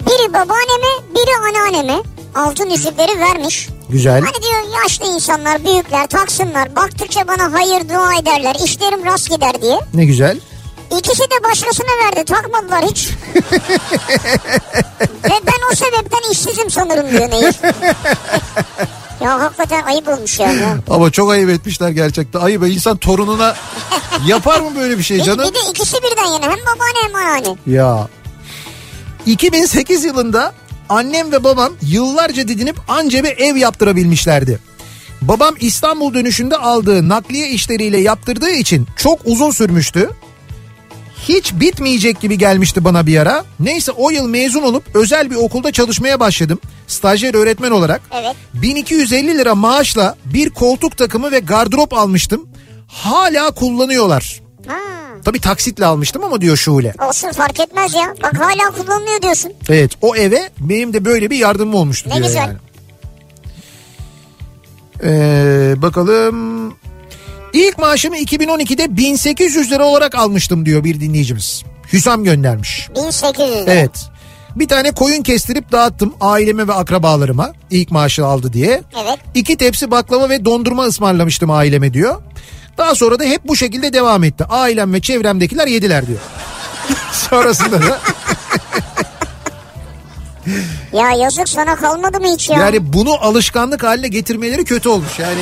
Speaker 3: Biri babaanneme biri anneanneme altın yüzükleri vermiş.
Speaker 2: Güzel.
Speaker 3: Hani diyor yaşlı insanlar büyükler taksınlar baktıkça bana hayır dua ederler işlerim rast gider diye.
Speaker 2: Ne güzel.
Speaker 3: İkisi de başkasına verdi takmadılar hiç. Ve ben o sebepten işsizim sanırım diyor Nehir. ya hakikaten ayıp olmuş ya. ya.
Speaker 2: Ama çok ayıp etmişler gerçekten. Ayıp insan torununa yapar mı böyle bir şey
Speaker 3: Bir,
Speaker 2: canım?
Speaker 3: E, bir de ikisi birden yani hem babaanne hem anneanne.
Speaker 2: Ya. 2008 yılında annem ve babam yıllarca didinip anca bir ev yaptırabilmişlerdi. Babam İstanbul dönüşünde aldığı nakliye işleriyle yaptırdığı için çok uzun sürmüştü. Hiç bitmeyecek gibi gelmişti bana bir ara. Neyse o yıl mezun olup özel bir okulda çalışmaya başladım. Stajyer öğretmen olarak.
Speaker 3: Evet.
Speaker 2: 1250 lira maaşla bir koltuk takımı ve gardırop almıştım. Hala kullanıyorlar.
Speaker 3: Ha.
Speaker 2: Tabii taksitle almıştım ama diyor Şule.
Speaker 3: Olsun fark etmez ya. Bak hala kullanılıyor diyorsun.
Speaker 2: Evet o eve benim de böyle bir yardımım olmuştu
Speaker 3: Ne
Speaker 2: diyor
Speaker 3: güzel.
Speaker 2: yani. Ee, bakalım. İlk maaşımı 2012'de 1800 lira olarak almıştım diyor bir dinleyicimiz. Hüsam göndermiş.
Speaker 3: 1800 lira.
Speaker 2: Evet. Bir tane koyun kestirip dağıttım aileme ve akrabalarıma ilk maaşı aldı diye.
Speaker 3: Evet.
Speaker 2: İki tepsi baklava ve dondurma ısmarlamıştım aileme diyor. Daha sonra da hep bu şekilde devam etti. Ailem ve çevremdekiler yediler diyor. Sonrasında da
Speaker 3: Ya yazık sana kalmadı mı hiç ya?
Speaker 2: Yani bunu alışkanlık haline getirmeleri kötü olmuş yani.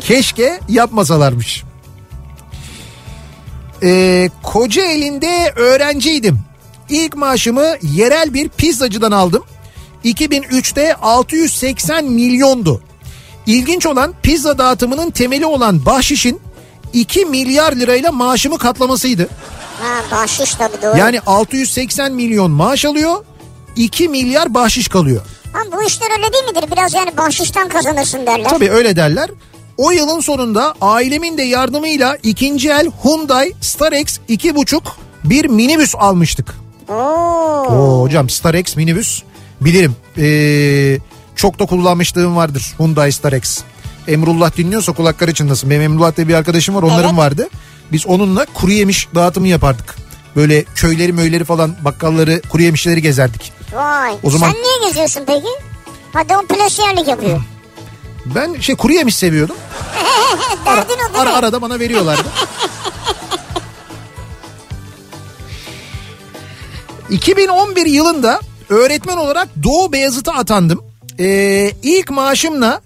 Speaker 2: Keşke yapmasalarmış. Ee, koca elinde öğrenciydim. İlk maaşımı yerel bir pizzacıdan aldım. 2003'te 680 milyondu. İlginç olan pizza dağıtımının temeli olan bahşişin 2 milyar lirayla maaşımı katlamasıydı.
Speaker 3: Ha bahşiş tabii doğru.
Speaker 2: Yani 680 milyon maaş alıyor, 2 milyar bahşiş kalıyor.
Speaker 3: Ama bu işler öyle değil midir? Biraz yani bahşişten kazanırsın derler.
Speaker 2: Tabii öyle derler. O yılın sonunda ailemin de yardımıyla ikinci el Hyundai Starex 2.5 bir minibüs almıştık.
Speaker 3: Oo.
Speaker 2: Oo, hocam Starex minibüs bilirim. Ee, çok da kullanmışlığım vardır Hyundai Starex. Emrullah dinliyorsa kulakları çınlasın. Benim Emrullah diye bir arkadaşım var onların
Speaker 3: Evet.
Speaker 2: vardı. Biz onunla kuru yemiş dağıtımı yapardık. Böyle köyleri möyleri falan bakkalları kuru yemişleri gezerdik.
Speaker 3: Vay.
Speaker 2: O zaman-
Speaker 3: Sen niye geziyorsun peki? Hadi on plasiyerlik yapıyor.
Speaker 2: Ben şey kuru yemiş seviyordum.
Speaker 3: Derdin o değil
Speaker 2: Ara
Speaker 3: mi?
Speaker 2: arada bana veriyorlardı. 2011 yılında öğretmen olarak Doğu Beyazıt'a atandım. Ee, ilk maaşımla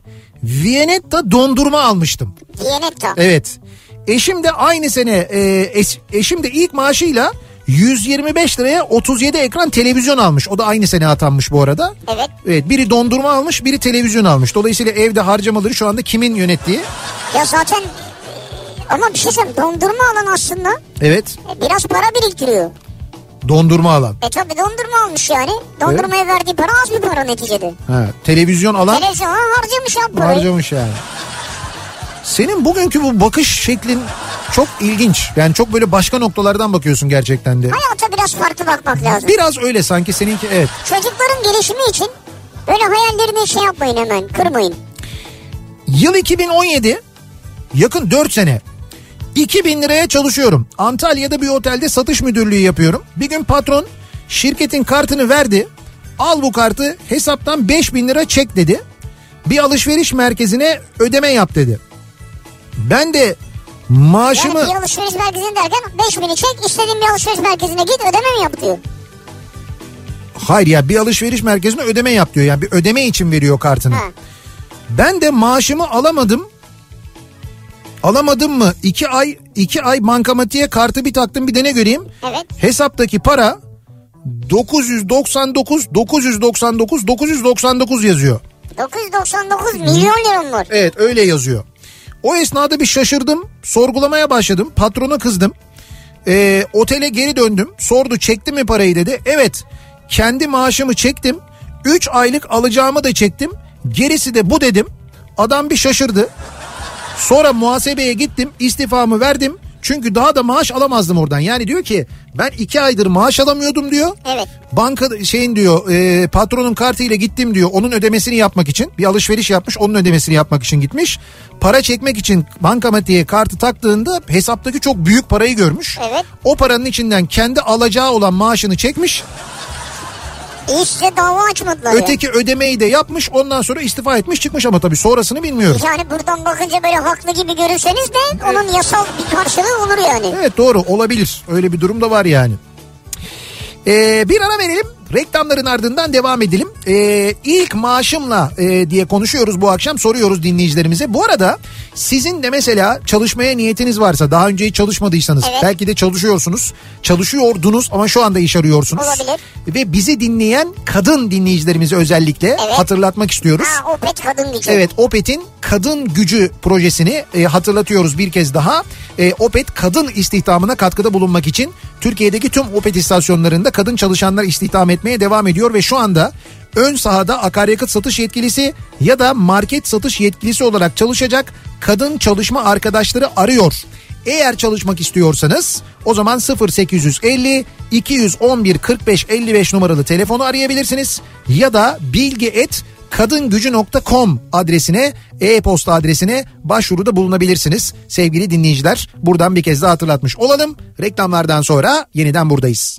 Speaker 2: Viyanetta dondurma almıştım.
Speaker 3: Viyanetta.
Speaker 2: Evet. Eşim de aynı sene e, eş- eşim de ilk maaşıyla 125 liraya 37 ekran televizyon almış. O da aynı sene atanmış bu arada.
Speaker 3: Evet.
Speaker 2: Evet biri dondurma almış biri televizyon almış. Dolayısıyla evde harcamaları şu anda kimin yönettiği?
Speaker 3: Ya zaten e, ama bir şey söyleyeyim dondurma alan aslında
Speaker 2: Evet
Speaker 3: e, biraz para biriktiriyor.
Speaker 2: dondurma alan.
Speaker 3: E tabi dondurma almış yani. Dondurmaya verdiği para az bir para neticede.
Speaker 2: Ha, televizyon alan
Speaker 3: Televizyon harcamış ya parayı.
Speaker 2: harcamış yani. Senin bugünkü bu bakış şeklin çok ilginç. Yani çok böyle başka noktalardan bakıyorsun gerçekten de.
Speaker 3: Hayata biraz farklı bakmak lazım.
Speaker 2: Biraz öyle sanki seninki evet.
Speaker 3: Çocukların gelişimi için böyle hayallerini şey yapmayın hemen kırmayın.
Speaker 2: Yıl 2017 yakın 4 sene. 2000 liraya çalışıyorum. Antalya'da bir otelde satış müdürlüğü yapıyorum. Bir gün patron şirketin kartını verdi. Al bu kartı hesaptan 5000 lira çek dedi. Bir alışveriş merkezine ödeme yap dedi. Ben de
Speaker 3: Yani
Speaker 2: maaşımı
Speaker 3: bir alışveriş merkezine derken 5000'i çek istediğin bir alışveriş merkezine git ödeme mi yap diyor.
Speaker 2: hayır ya bir alışveriş merkezine ödeme yap diyor. Yani bir ödeme için veriyor kartını.
Speaker 3: Ha.
Speaker 2: Ben de maaşımı alamadım. Alamadım mı? İki ay iki ay bankamatiğe kartı bir taktım bir de ne göreyim?
Speaker 3: Evet.
Speaker 2: Hesaptaki para 999 999 999 yazıyor.
Speaker 3: 999 milyon liram var.
Speaker 2: Evet öyle yazıyor. O esnada bir şaşırdım. Sorgulamaya başladım. Patrona kızdım. Ee, otele geri döndüm. Sordu çekti mi parayı dedi. Evet kendi maaşımı çektim. 3 aylık alacağımı da çektim. Gerisi de bu dedim. Adam bir şaşırdı. Sonra muhasebeye gittim. istifamı verdim. Çünkü daha da maaş alamazdım oradan. Yani diyor ki ben iki aydır maaş alamıyordum diyor.
Speaker 3: Evet.
Speaker 2: Banka şeyin diyor e, patronun kartıyla gittim diyor. Onun ödemesini yapmak için bir alışveriş yapmış onun ödemesini yapmak için gitmiş. Para çekmek için bankamatiğe kartı taktığında hesaptaki çok büyük parayı görmüş.
Speaker 3: Evet.
Speaker 2: O paranın içinden kendi alacağı olan maaşını çekmiş.
Speaker 3: İşte dava açmadılar ya.
Speaker 2: Öteki ödemeyi de yapmış ondan sonra istifa etmiş çıkmış ama tabii sonrasını bilmiyorum.
Speaker 3: Yani buradan bakınca böyle haklı gibi görürseniz de onun yasal bir karşılığı olur yani.
Speaker 2: Evet doğru olabilir. Öyle bir durum da var yani. Ee, bir ara verelim. Reklamların ardından devam edelim. Ee, ilk maaşımla e, diye konuşuyoruz bu akşam. Soruyoruz dinleyicilerimize. Bu arada sizin de mesela çalışmaya niyetiniz varsa daha önce hiç çalışmadıysanız
Speaker 3: Evet.
Speaker 2: belki de çalışıyorsunuz. Çalışıyordunuz ama şu anda iş arıyorsunuz.
Speaker 3: Olabilir.
Speaker 2: Ve bizi dinleyen kadın dinleyicilerimizi özellikle hatırlatmak istiyoruz.
Speaker 3: Ha o pet kadın gücü.
Speaker 2: Evet Opet'in kadın gücü projesini e, hatırlatıyoruz bir kez daha. E, Opet kadın istihdamına katkıda bulunmak için Türkiye'deki tüm Opet istasyonlarında kadın çalışanlar istihdam etmeye devam ediyor ve şu anda ön sahada akaryakıt satış yetkilisi ya da market satış yetkilisi olarak çalışacak kadın çalışma arkadaşları arıyor. Eğer çalışmak istiyorsanız o zaman 0850 211 45 55 numaralı telefonu arayabilirsiniz ya da bilgi et kadıngucu.com adresine e-posta adresine başvuruda bulunabilirsiniz. Sevgili dinleyiciler buradan bir kez daha hatırlatmış olalım. Reklamlardan sonra yeniden buradayız.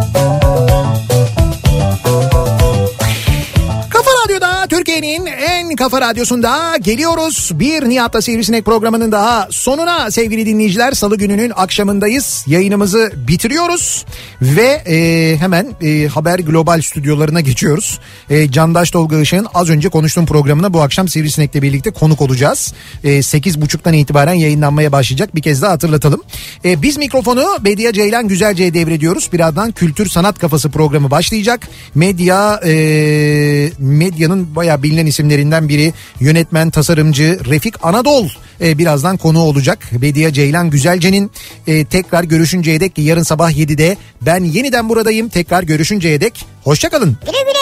Speaker 2: Kafa Radyo'da Türkiye'nin en kafa radyosunda geliyoruz. Bir Nihat'la Sivrisinek programının daha sonuna sevgili dinleyiciler. Salı gününün akşamındayız. Yayınımızı bitiriyoruz ve e, hemen e, Haber Global stüdyolarına geçiyoruz. E, Candaş Tolga Işık'ın az önce konuştuğum programına bu akşam Sivrisinek'le birlikte konuk olacağız. E, 8.30'dan itibaren yayınlanmaya başlayacak. Bir kez daha hatırlatalım. E, biz mikrofonu Bediye Ceylan Güzelce'ye devrediyoruz. Birazdan Kültür Sanat Kafası programı başlayacak. Medya e, medyanın bayağı bilinen isimlerinden biri yönetmen, tasarımcı Refik Anadol e, birazdan konuğu olacak. Bediye Ceylan Güzelce'nin e, tekrar görüşünceye dek ki yarın sabah 7'de ben yeniden buradayım. Tekrar görüşünceye dek hoşçakalın.
Speaker 3: Güle güle.